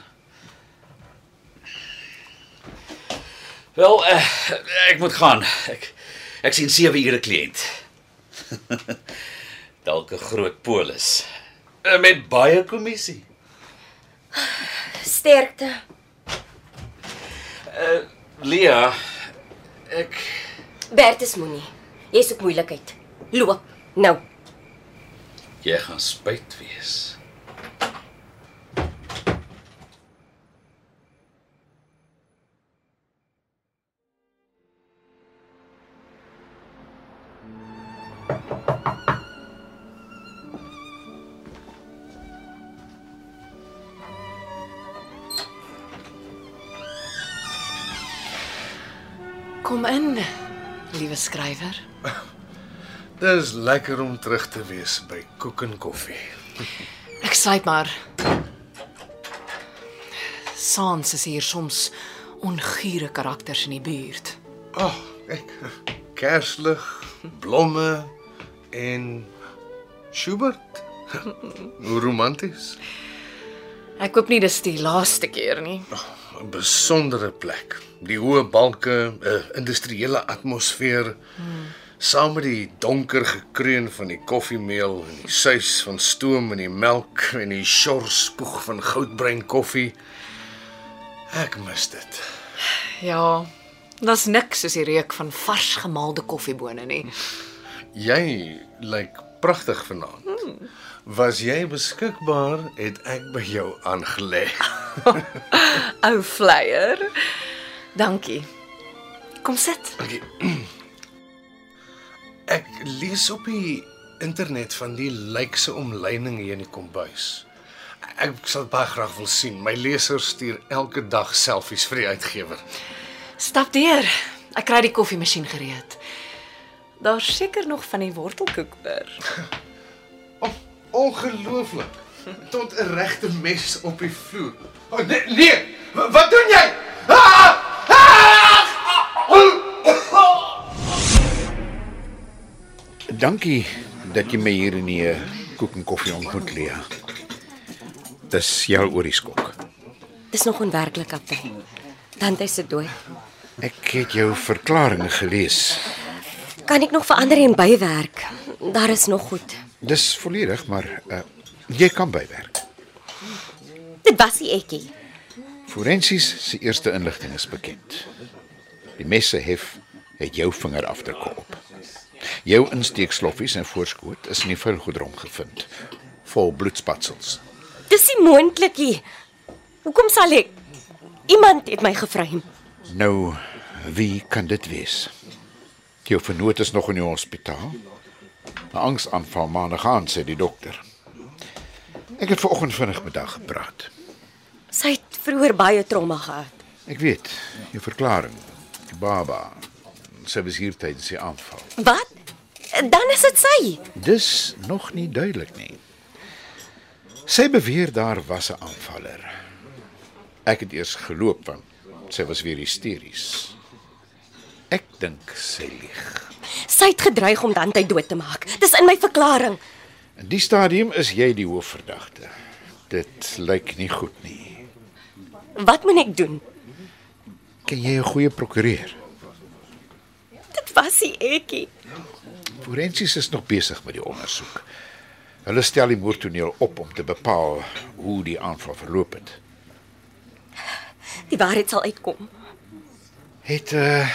Wel, uh, ek moet gaan. Ek ek sien 7 ure kliënt. Dalk 'n groot polis Eh, met baie kommissie. Sterkte. Uh, Lia, ek Bertus moenie. Jy's op moeilikheid. Loop nou. Jy gaan spyt wees. Kom in, liewe skrywer. Dis lekker om terug te wees by Koek en Koffie. Ek sluit maar. Sans is hier soms ongure karakters in die buurt. Ag, oh, kyk. Kerslig, blomme en Schubert. Hoe romanties. Ek koop nie dis die laaste keer nie. 'n Besondere plek. Die hoë balke, 'n industriële atmosfeer, saam met die donker gekreun van die koffiemeel en die suis van stoom en die melk en die sjorspoeg van goudbruin koffie. Ek mis dit. Ja, daar's niks soos die reuk van vars gemaalde koffiebone nie. Jy lyk pragtig vanaand. Was jy beskikbaar, het ek by jou aangelê. Ou flyer. Dankie. Kom sit. Okay. Ek lees op die internet van die lykse omleining hier in die kombuis. Ek sal baie graag wil sien. My lesers stuur elke dag selfies vir die uitgewer. Stap deur. Ek kry die koffiemasjien gereed. Daar's seker nog van die wortelkoek oor. Ongelooflik. Tot 'n regte mes op die vloer. Oh, nee, nee. Wa- Wat doen jy? Ah! Dankie dat jy my hier in die eh, koek en koffie ontmoet, Lea. Dis jou oor die skok. Dis nog onwerklik, kaptein. Tante se dood. Ek het jou verklaring gelees. Kan ek nog verander en bywerk? Daar is nog goed. Dis volledig, maar uh, jy kan bywerk. Dit was die ekkie. Forensies se eerste inligting is bekend. Die messe hef het jou vingerafdrukke op. Jou insteeksloffies en voorskoot is in die vuilgoedrom gevind, vol bloedspatsels. Dis nie moontlik nie. Hoekom sal ek? Iemand het my gevreem. Nou, wie kan dit wees? Jou vernoot is nog in die hospitaal. 'n Angsaanval maandag aan sê die dokter. Ek het vanoggend vinnig met haar gepraat. Sy het vroeër baie trauma gehad. Ek weet, jou verklaring. Die baba. Sy was hier tydens die aanval. Wat? Dan is dit sy. Dis nog nie duidelik nie. Sy beweer daar was 'n aanvaller. Ek het eers geloop want sy was weer hysteries. Ek dink sy lieg. Sy het gedreig om Dante dood te maak. Dis in my verklaring. In die stadium is jy die hoofverdagte. Dit lyk nie goed nie. Wat moet ek doen? Ken jy 'n goeie prokureur? Dit was die ekkie. Forensies is nog besig met die ondersoek. Hulle stel die moordtoneel op om te bepaal hoe die aanval verloop het. Die waarheid sal uitkom. Het uh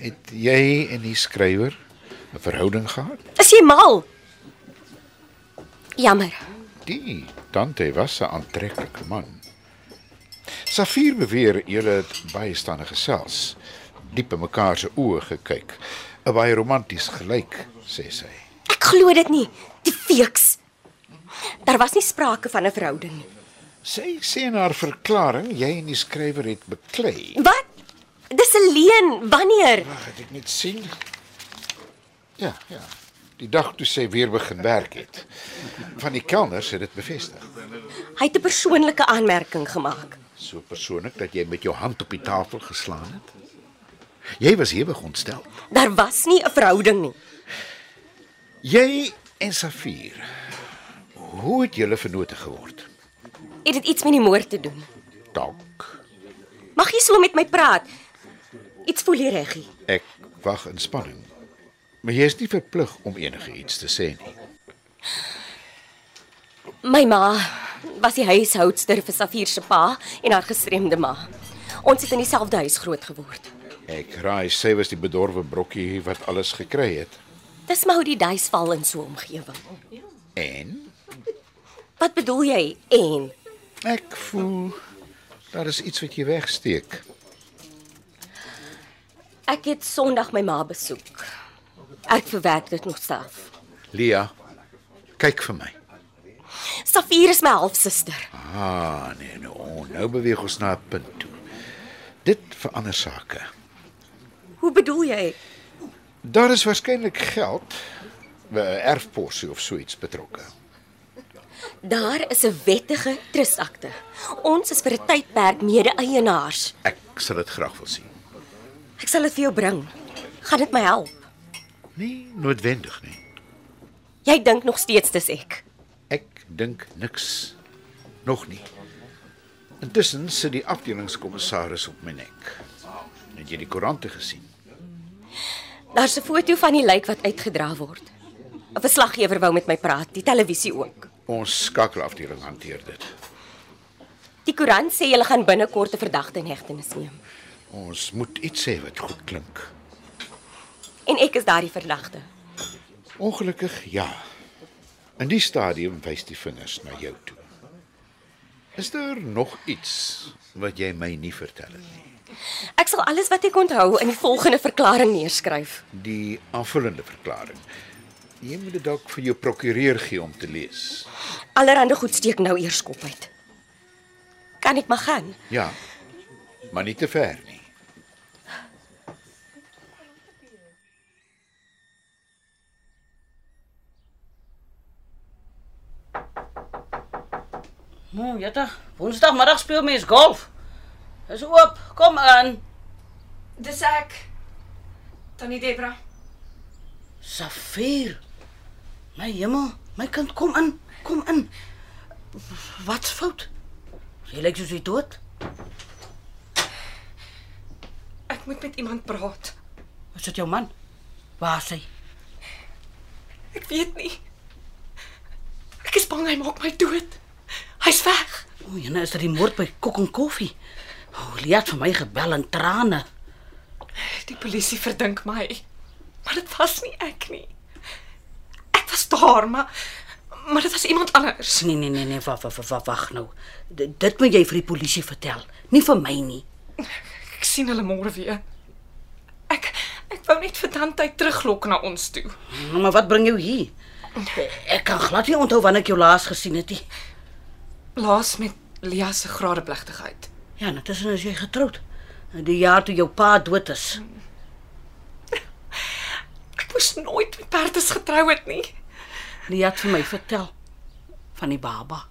het jy en die skrywer 'n verhouding gehad? Is jy mal? Jammer. Die Dante was 'n aantreklike man. Safir beweer julle het baie staande gesels, diep in mekaar se oë gekyk, 'n baie romanties gelyk, sê sy. Ek glo dit nie. Die feeks. Daar was nie sprake van 'n verhouding nie. Sy sê in haar verklaring jy en die skrywer het beklei. Wat? Dis 'n leuen. Wanneer? Wag, het ek net sien. Ja, ja. Die dag toe sy weer begin werk het. Van die kelners het dit bevestig. Hy het 'n persoonlike aanmerking gemaak. So persoonlik dat jy met jou hand op die tafel geslaan het. Jy was hewig ontstel. Daar was nie 'n verhouding nie. Jy en Safir. Hoe het julle vennote geword? Het dit iets met die moord te doen? Dalk Mag jy so met my praat? Iets voel hier reggie. ek wag in spanning. Maar jy is nie verplig om enigiets te sê nie. My ma was die huishoudster vir Safir se pa en haar gestremde ma. Ons het in dieselfde huis groot geword. Ek raai sy was die bedorwe brokkie wat alles gekry het. Dis maar hoe die duisval in so 'n omgewing. En Wat bedoel jy? En ek voel daar is iets wat jy wegsteek. ek het Sondag my ma besoek. Ek verwerk dit nog self. Lia, kyk vir my. Safir is my halfsuster. Ah, nee, nou, nou beweeg ons na 'n punt toe. Dit verander sake. Hoe bedoel jy? Daar is waarskynlik geld, 'n erfporsie of so iets betrokke. Daar is 'n wettige trusakte. Ons is vir 'n tydperk mede-eienaars. Ek sal dit graag wil sien. Ek sal dit vir jou bring. Gaan dit my help? Nee, noodwendig nie. Jy dink nog steeds dis ek. Ek dink niks. Nog nie. Intussen sit die afdelingskommissaris op my nek. Het jy die koerante gesien? Daar's 'n foto van die lijk wat uitgedra word. 'n Verslaggewer wou met my praat, die televisie ook. Ons skakelafdeling hanteer dit. Die koerant sê hulle gaan binnekort 'n verdagte in hegtenis neem Ons moet iets sê wat goed klink. en ek is daardie verdagte. Ongelukkig ja. In die stadium wys die vingers na jou toe. Is daar nog iets wat jy my nie vertel het nie? Ek sal alles wat ek onthou in die volgende verklaring neerskryf. Die aanvullende verklaring. Jy moet dit dalk vir jou prokureur gee om te lees. Allerhande goed steek nou eers kop uit. Kan ek maar gaan? Ja. Maar nie te ver nie. Nou, jette, Woensdagmiddag speel mens golf. Is oop. Kom aan. Dis ek. Tannie Debra. Safir. My hemel, my kind, kom in. Kom in. Wat's fout? Jy lyk soos jy dood. Ek moet met iemand praat. Is dit jou man? Waar is hy? Ek weet nie. Ek is bang hy maak my dood. Hy's weg. O, jene, is dit die moord by Kok en Koffie? O, Lia het vir my gebel in trane. Die polisie verdink my. Maar dit was nie ek nie. Ek was daar, maar maar dit was iemand anders. Nee, nee, nee, nee, wag, wag, wag, wag nou. D dit moet jy vir die polisie vertel, nie vir my nie. Ek sien hulle môre weer. Ek ek wou net vir Dante teruglok na ons toe. Nou, maar wat bring jou hier? Eh, Ek kan glad nie onthou wanneer ek jou laas gesien het nie. Laas met Lia se graadeplegtigheid. Ja, en intussen is jy getroud. Die jaar toe jou pa dood is. Ek moes nooit met Bertus getrou het nie. Die het vir my vertel van die baba.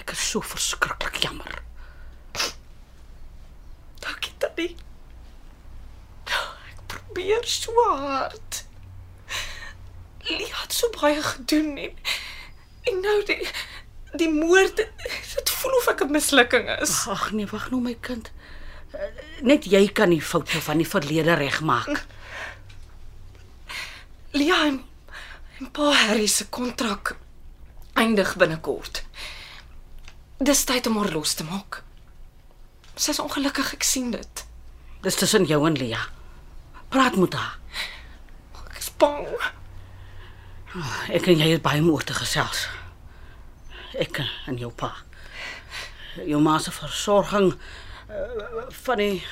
Ek is so verskriklik jammer. Dankie tannie. Ek probeer so hard. Lia het so baie gedoen en en nou die die moord dit voel of ek 'n mislukking is. Ag nee, wag nou my kind. Eh, Net jy kan die foute van die verlede regmaak. Lia Ja, en, en pa Harry se kontrak eindig binnekort. Dis tyd om haar los te maak. Sy's ongelukkig, ek sien dit. Dis tussen jou en Lia. Praat met haar. Ek is bang. Ek en jy het baie moeite te gesels. Ek en jou pa. Jou ma se versorging eh, van die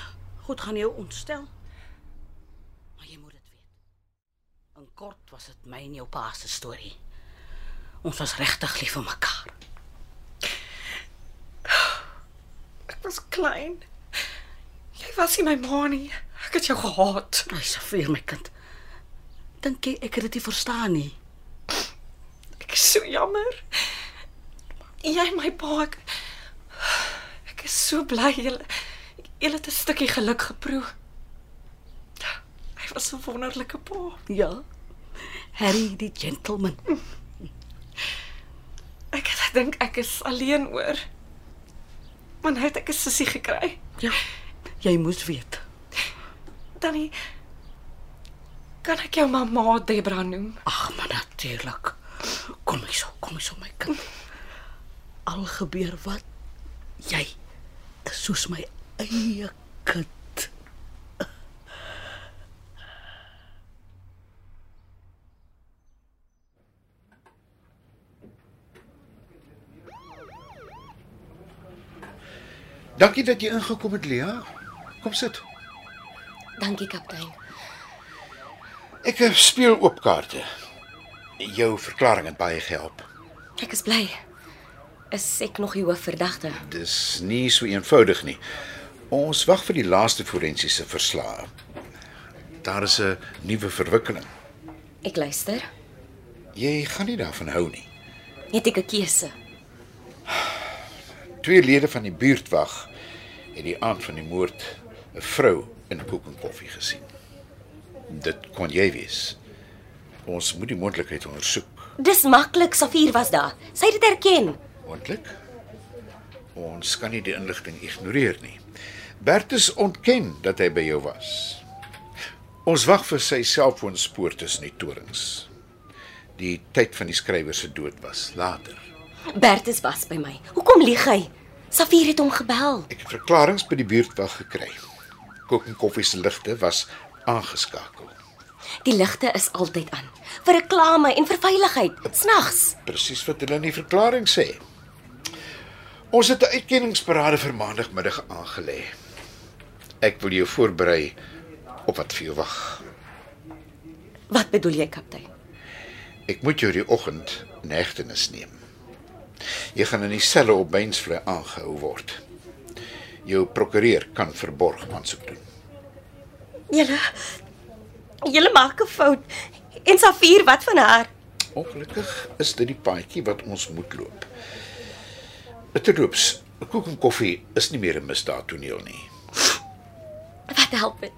goed gaan jou ontstel. Maar jy moet dit weet. In kort was dit my en jou pa se storie. Ons was regtig lief vir mekaar. Ek was klein. Jy was nie my ma nie. Ek het jou gehaat. Ai, Sofie, my kind. Dink jy ek het dit nie verstaan nie? Ek is so jammer. Jy en my pa ek, ek is so bly julle julle het 'n stukkie geluk geproe. Hy was 'n wonderlike pa. Ja. Harry die gentleman. Ek het gedink ek is alleen oor. Maar nou het ek 'n sussie gekry. Ja. Jy moes weet. Tannie kan ek jou mamma Debra noem? Ag, maar natuurlik. Kom hier so, kom hier so my kind. Al gebeur wat jy is soos my eie kind. Dankie dat jy ingekom het, Lia. Kom sit. Dankie kaptein. Ek eh, speel oop kaarte. Jou verklaring het baie gehelp. Ek is bly. Is ek nog die hoofverdagte? Dis nie so eenvoudig nie. Ons wag vir die laaste forensiese verslae. Daar is 'n nuwe verwikkeling. Ek luister. Jy gaan nie daarvan hou nie. Het ek 'n keuse? Twee lede van die buurtwag het die aand van die moord 'n vrou in koek en koffie gesien. Dit kon jy wees. Ons moet die moontlikheid ondersoek. Dis maklik, Safier was daar. Sy het dit erken. Moontlik? Ons kan nie die inligting ignoreer nie. Bertus ontken dat hy by jou was. Ons wag vir sy selfoonspoor tussen die torings. Die tyd van die skrywer se dood was later. Bertus was by my. Hoekom lieg hy? Safier het hom gebel. Ek het verklaringe by die buurtwag gekry. Kook en koffie se ligte was aangeskakel. Die ligte is altyd aan vir reklame en vir veiligheid. Snags. Presies wat hulle in die verklaring sê. Ons het 'n uitkenningsparade vir maandagmiddag aangelê. Ek wil jou voorberei op wat vir jou wag. Wat bedoel jy, kaptein? Ek moet jou die oggend in hegtenis neem. Jy gaan in die selle op Beinsvlei aangehou word. Jou prokureur kan verborg aansoek doen. Julle Julle maak 'n fout. En Safier, wat van haar? Ongelukkig is dit die paadjie wat ons moet loop. Terloops, koek en koffie is nie meer 'n misdaadtoneel nie. Wat help dit?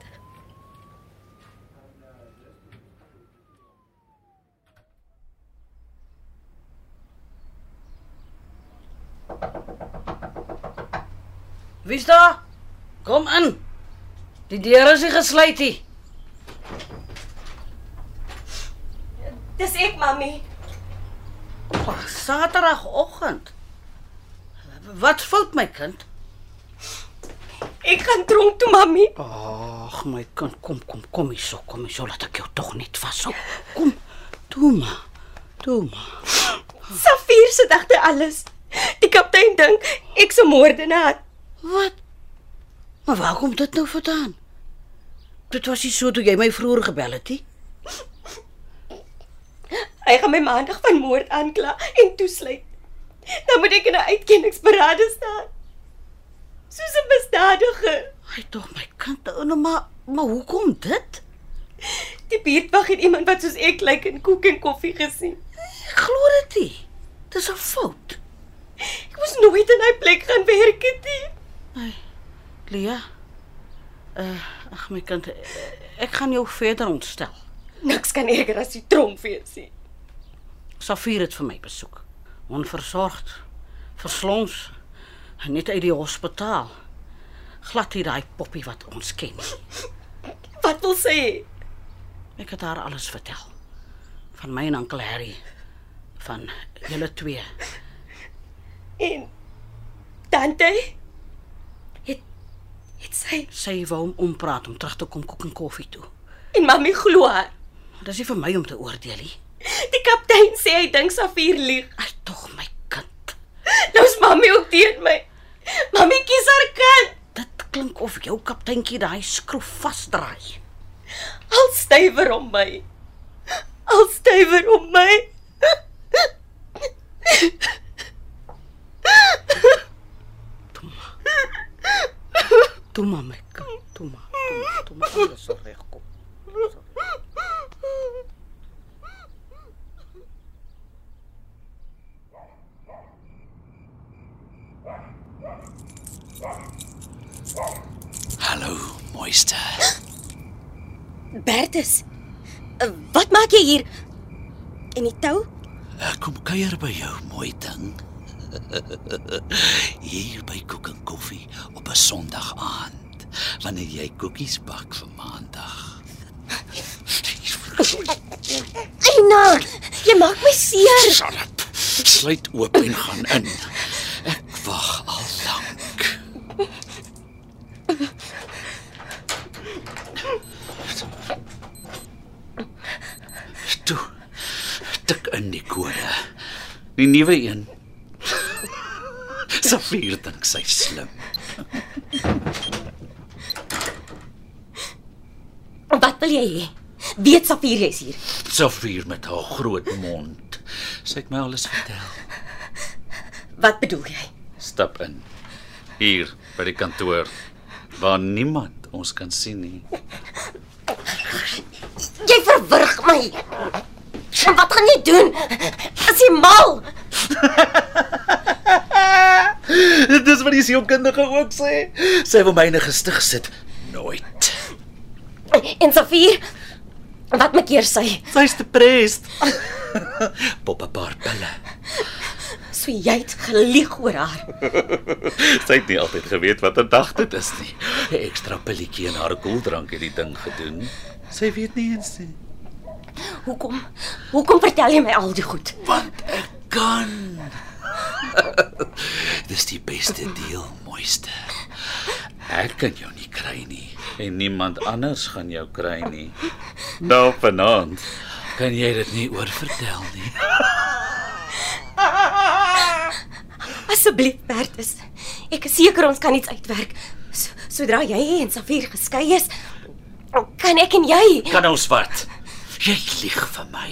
Wie's daar? Kom in. Die deur is nie gesluit nie. Dis ek, mami. Saterdagoggend. Wat fout my kind? Ek gaan tronk toe, mami. Ag my kind, kom kom kom hier so, kom hier so laat ek jou tog net vashou. Kom. Toe maar. Toe maar. Safier se dagte alles. Die kaptein dink ek se moordenaar. Wat? Maar waar kom dit nou vandaan? Dit was nie so toe jy my vroeër gebel het nie. Hy gaan my maandag van moord aankla en toesluit. Dan moet ek in 'n uitkenningsberade staan. Soos 'n misdadiger. Hy tog my kind, nou maar maar hoekom dit? Die buurtwag het iemand wat soos ek lyk like in koek en koffie gesien. Ek glo dit nie. Dis 'n fout. Ek moes nooit in daai plek gaan werk het nie. Lia. Uh, ag my kind, eh, ek gaan jou verder ontstel. Niks kan erger as die tronk wees nie. Safir het vir my besoek. Onversorgd, verslons, net uit die hospitaal. Glad nie daai poppie wat ons ken nie. Wat wil sy hê? Ek het haar alles vertel. Van my en oom Harry, van julle twee. En tante het het sy Sy wou hom ompraat om terug te kom koek en koffie toe. en mami glo haar. Dis nie vir my om te oordeel nie. Die kaptein sê hy dink Safier lieg. Ai tog my kind. Nou's mami ook teen my. Mami kies haar kant. Dit klink of jou kapteintjie daai skroef vasdraai. Al stywer om my. Al stywer om my. Toe maar my kind, toe maar, toe maar, toe maar alles sal regkom. Hallo, mooiste. Bertus. eh, Wat maak jy hier? En die tou? Ek Eh, kom kuier by jou, mooi ding. Hier by koek en koffie op 'n Sondag aand, wanneer jy koekies bak vir Maandag. Eina, jy maak my seer. Shut up. Sluit oop en gaan in. Ek wag al lank. Toe. Tik in die kode. Die nuwe een. Safier dink sy slim. Wat wil jy hê? Weet Safier jy's hier. Safier met haar groot mond. Sy het my alles vertel. Wat bedoel jy? Stap in. Hier by die kantoor waar niemand ons kan sien nie. Jy verwrig my. En wat gaan jy doen? Is jy mal? Dis wat die sielkundige ook sê. Sy wil my in 'n gestig sit. Nooit. En Safier, wat maak hier sy? Sy's depressed. Pop 'n paar pille. So jy het gelieg oor haar. Sy het nie altyd geweet wat 'n dag dit is nie. 'n Ekstra pilletjie in haar koeldrank het die ding gedoen. Sy weet nie eens nie. Hoekom? Hoekom vertel jy my al die goed? Want ek kan. Dis die beste deel, mooiste. Ek kan jou nie kry nie en niemand anders gaan jou kry nie. Nou vanaand kan jy dit nie oorvertel nie. Asseblief, Bertus. Ek is seker ons kan iets uitwerk. So, sodra jy en Safier geskei is, kan ek en jy. Kan ons wat? Jy lieg vir my.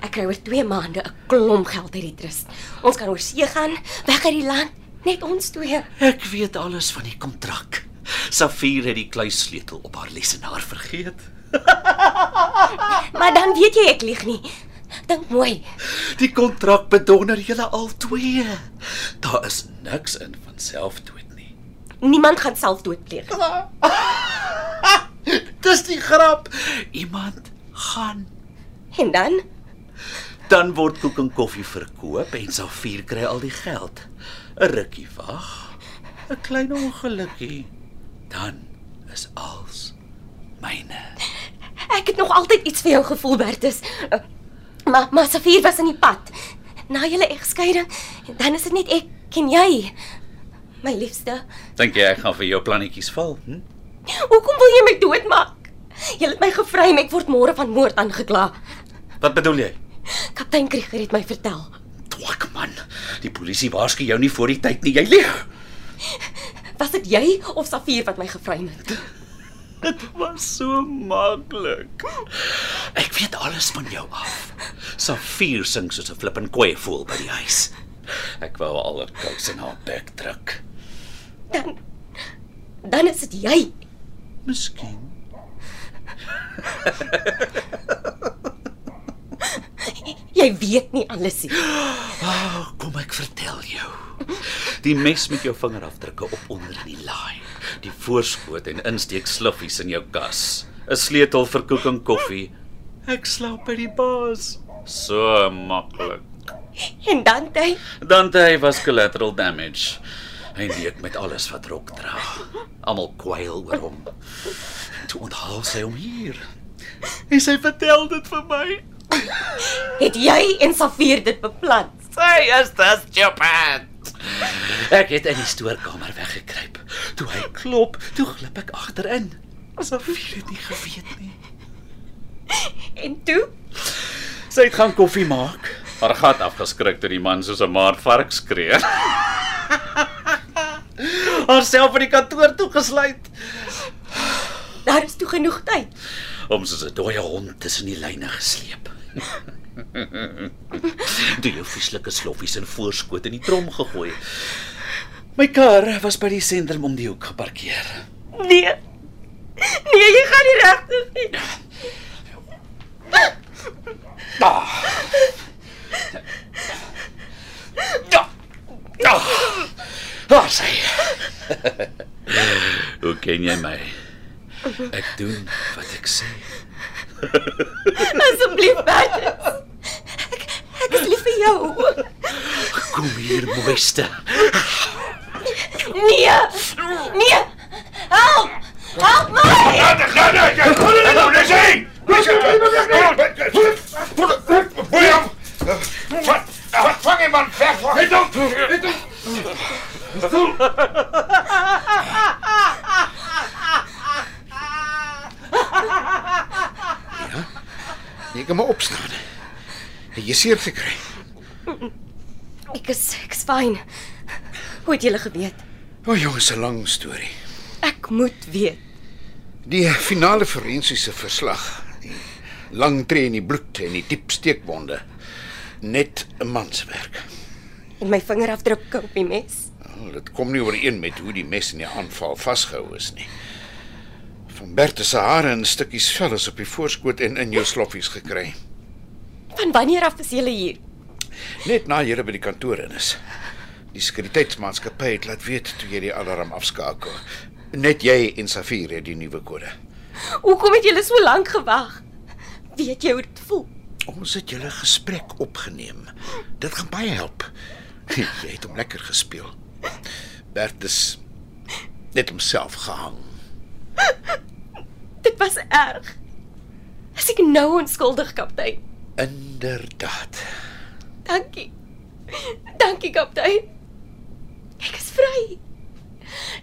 Ek kry oor 2 maande 'n klomp geld uit die trust. Ons kan oor see gaan, weg uit die land, net ons twee. Ek weet alles van die kontrak. Safier het die kluissleutel op haar lesenaar vergeet. Maar dan weet jy ek lieg nie. Dink mooi. Die kontrak bedonder julle al twee. Daar is niks in van selfdood. Niemand gaan selfdood pleeg. Dis die grap. Iemand gaan. En dan Dan word koek en koffie verkoop en Safier kry al die geld. 'n Rukkie wag. 'n Klein ongelukkie. Dan is als myne. Ek het nog altyd iets vir jou gevoel, Bertus. Eh, Maar maar Safier was in die pad. Na julle egskeiding, dan is dit net ek en jy. My liefste, Dink jy ek gaan vir jou plannetjies val? Hm? hoekom wil jy my doodmaak? Jy het my gevry en ek word môre van moord aangekla. Wat bedoel jy? Kaptein Krieger het my vertel. Twak man. Die polisie waarsku jou nie voor die tyd nie. Jy lieg. Was dit jy of Safier wat my gevry het? Dit was so maklik. Ek weet alles van jou af. Safier sing soos 'n flippin koei voel by die huis. Ek wou al haar kous in haar bek druk. Dan dan is dit jy. Miskien. jy weet nie alles nie. Oh, kom ek vertel jou. Die mes met jou vingerafdrukke op onder in die laai. Die voorskoot en insteek sluffies in jou kas. 'n Sleutel vir koek en koffie. Ek slaap by die baas. So maklik. En dan jy Dante hy was collateral damage. Hy leek met alles wat rok dra. Almal kwyl oor hom. Toe onthaal sy hom hier. En sy vertel dit vir my. het jy en Safier dit beplan. Sy is dis stupid. Ek het in die stoorkamer weggekruip. Toe hy klop, toe glip ek agterin. Safier het nie geweet nie. En toe Sy het gaan koffie maak. Haar gat afgeskrik toe die man soos 'n maar vark skree. Haarself in die kantoor toegesluit. Daar is toe genoeg tyd. Om soos 'n dooie hond tussen die lyne gesleep. Die vieslike sloffies in voorskoot in die trom gegooi. My kar was by die sentrum om die hoek geparkeer. Nee. Nee, jy gaan nie regtig nie. Ja. Ah. Ja. Ah. Daar sê. Hoe ken jy my? Ek doen wat ek sê. Asseblief, Bertus. Ek ek is lief vir jou. Kom hier, mooiste. Nee. Nee. Help! Help my! Laat ek gaan ek. Kom net nou, dis hy. Dis hy, dis hy. William. Wat? Wat vang hom aan weg? Net dan. Net Jy kan maar opstaan. Het jy seer gekry? Ek is ek is fyn. Hoe het julle geweet? O, O, Oh, jongens, 'n lang storie. Ek moet weet. Die finale forensiese verslag. Die lang tree in die bloed en die diep steekwonde. Net 'n manswerk. En my vingerafdruk kou op die mes. Wel, Dit kom nie ooreen met hoe die mes in die aanval vasgehou is nie. Van Bertha se hare en stukkies vel is op die voorskoot en in jou sloffies gekry. Van wanneer af is julle hier? Net na jy by die kantoor in is. Die sekuriteitsmaatskappy het laat weet toe jy die alarm afskakel. Net jy en Safir het die nuwe kode. Hoekom het julle so lank gewag? Weet jy hoe dit voel? Ons het julle gesprek opgeneem. Dit gaan baie help. Jy het hom lekker gespeel. Bert is net homself gehang. Dit was erg. As ek nou onskuldig, kaptein. Inderdaad. Dankie. Dankie, kaptein. Ek is vry.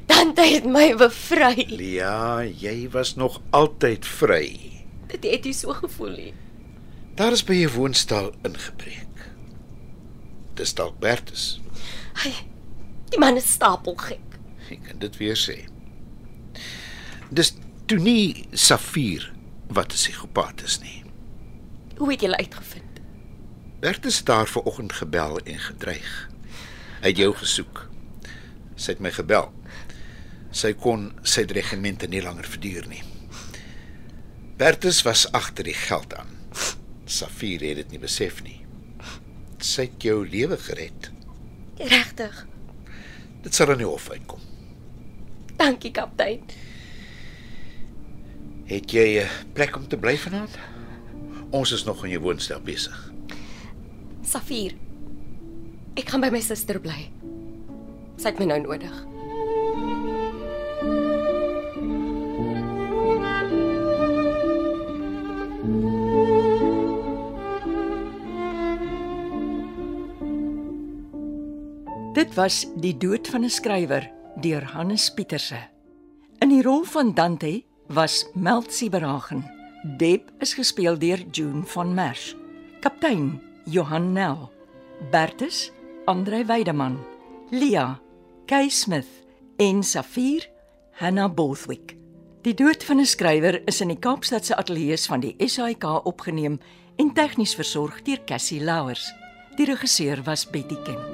Dante het my bevry. Ja, jy was nog altyd vry. Dit het jy so gevoel nie. Daar is by jou woonstel ingebreek. Dis dalk Bertus. Hy die man is stapelgek. Ek kan dit weer sê. Dis toe nie Safir wat 'n psigopaat is nie. Hoe het julle uitgevind? Bertus het haar vanoggend gebel en gedreig. Hy het jou gesoek. Sy het my gebel. Sy kon sy dreigemente nie langer verduur nie. Bertus was agter die geld aan. Safir het dit nie besef nie. Sy het jou lewe gered. Regtig. Dit sal aan die hof uitkom. Dankie, kaptein. Het jy 'n plek om te bly vanaand? Ons is nog in jou woonstel besig. Safir. Ek gaan by my suster bly. Sy het my nou nodig. Dit was Die dood van 'n skrywer deur Hannes Pieterse. In die rol van Dante was Meld Sieberhagen. Deb is gespeel deur June van Merwe. Kaptein Johan Nel. Bertus Andre Weideman. Lia Kay Smith en Safir Hannah Bothwick. Die dood van 'n skrywer is in die Kaapstad se ateljee van die SAIK opgeneem en tegnies versorg deur Cassie Louwers. Die regisseur was Betty Kemp.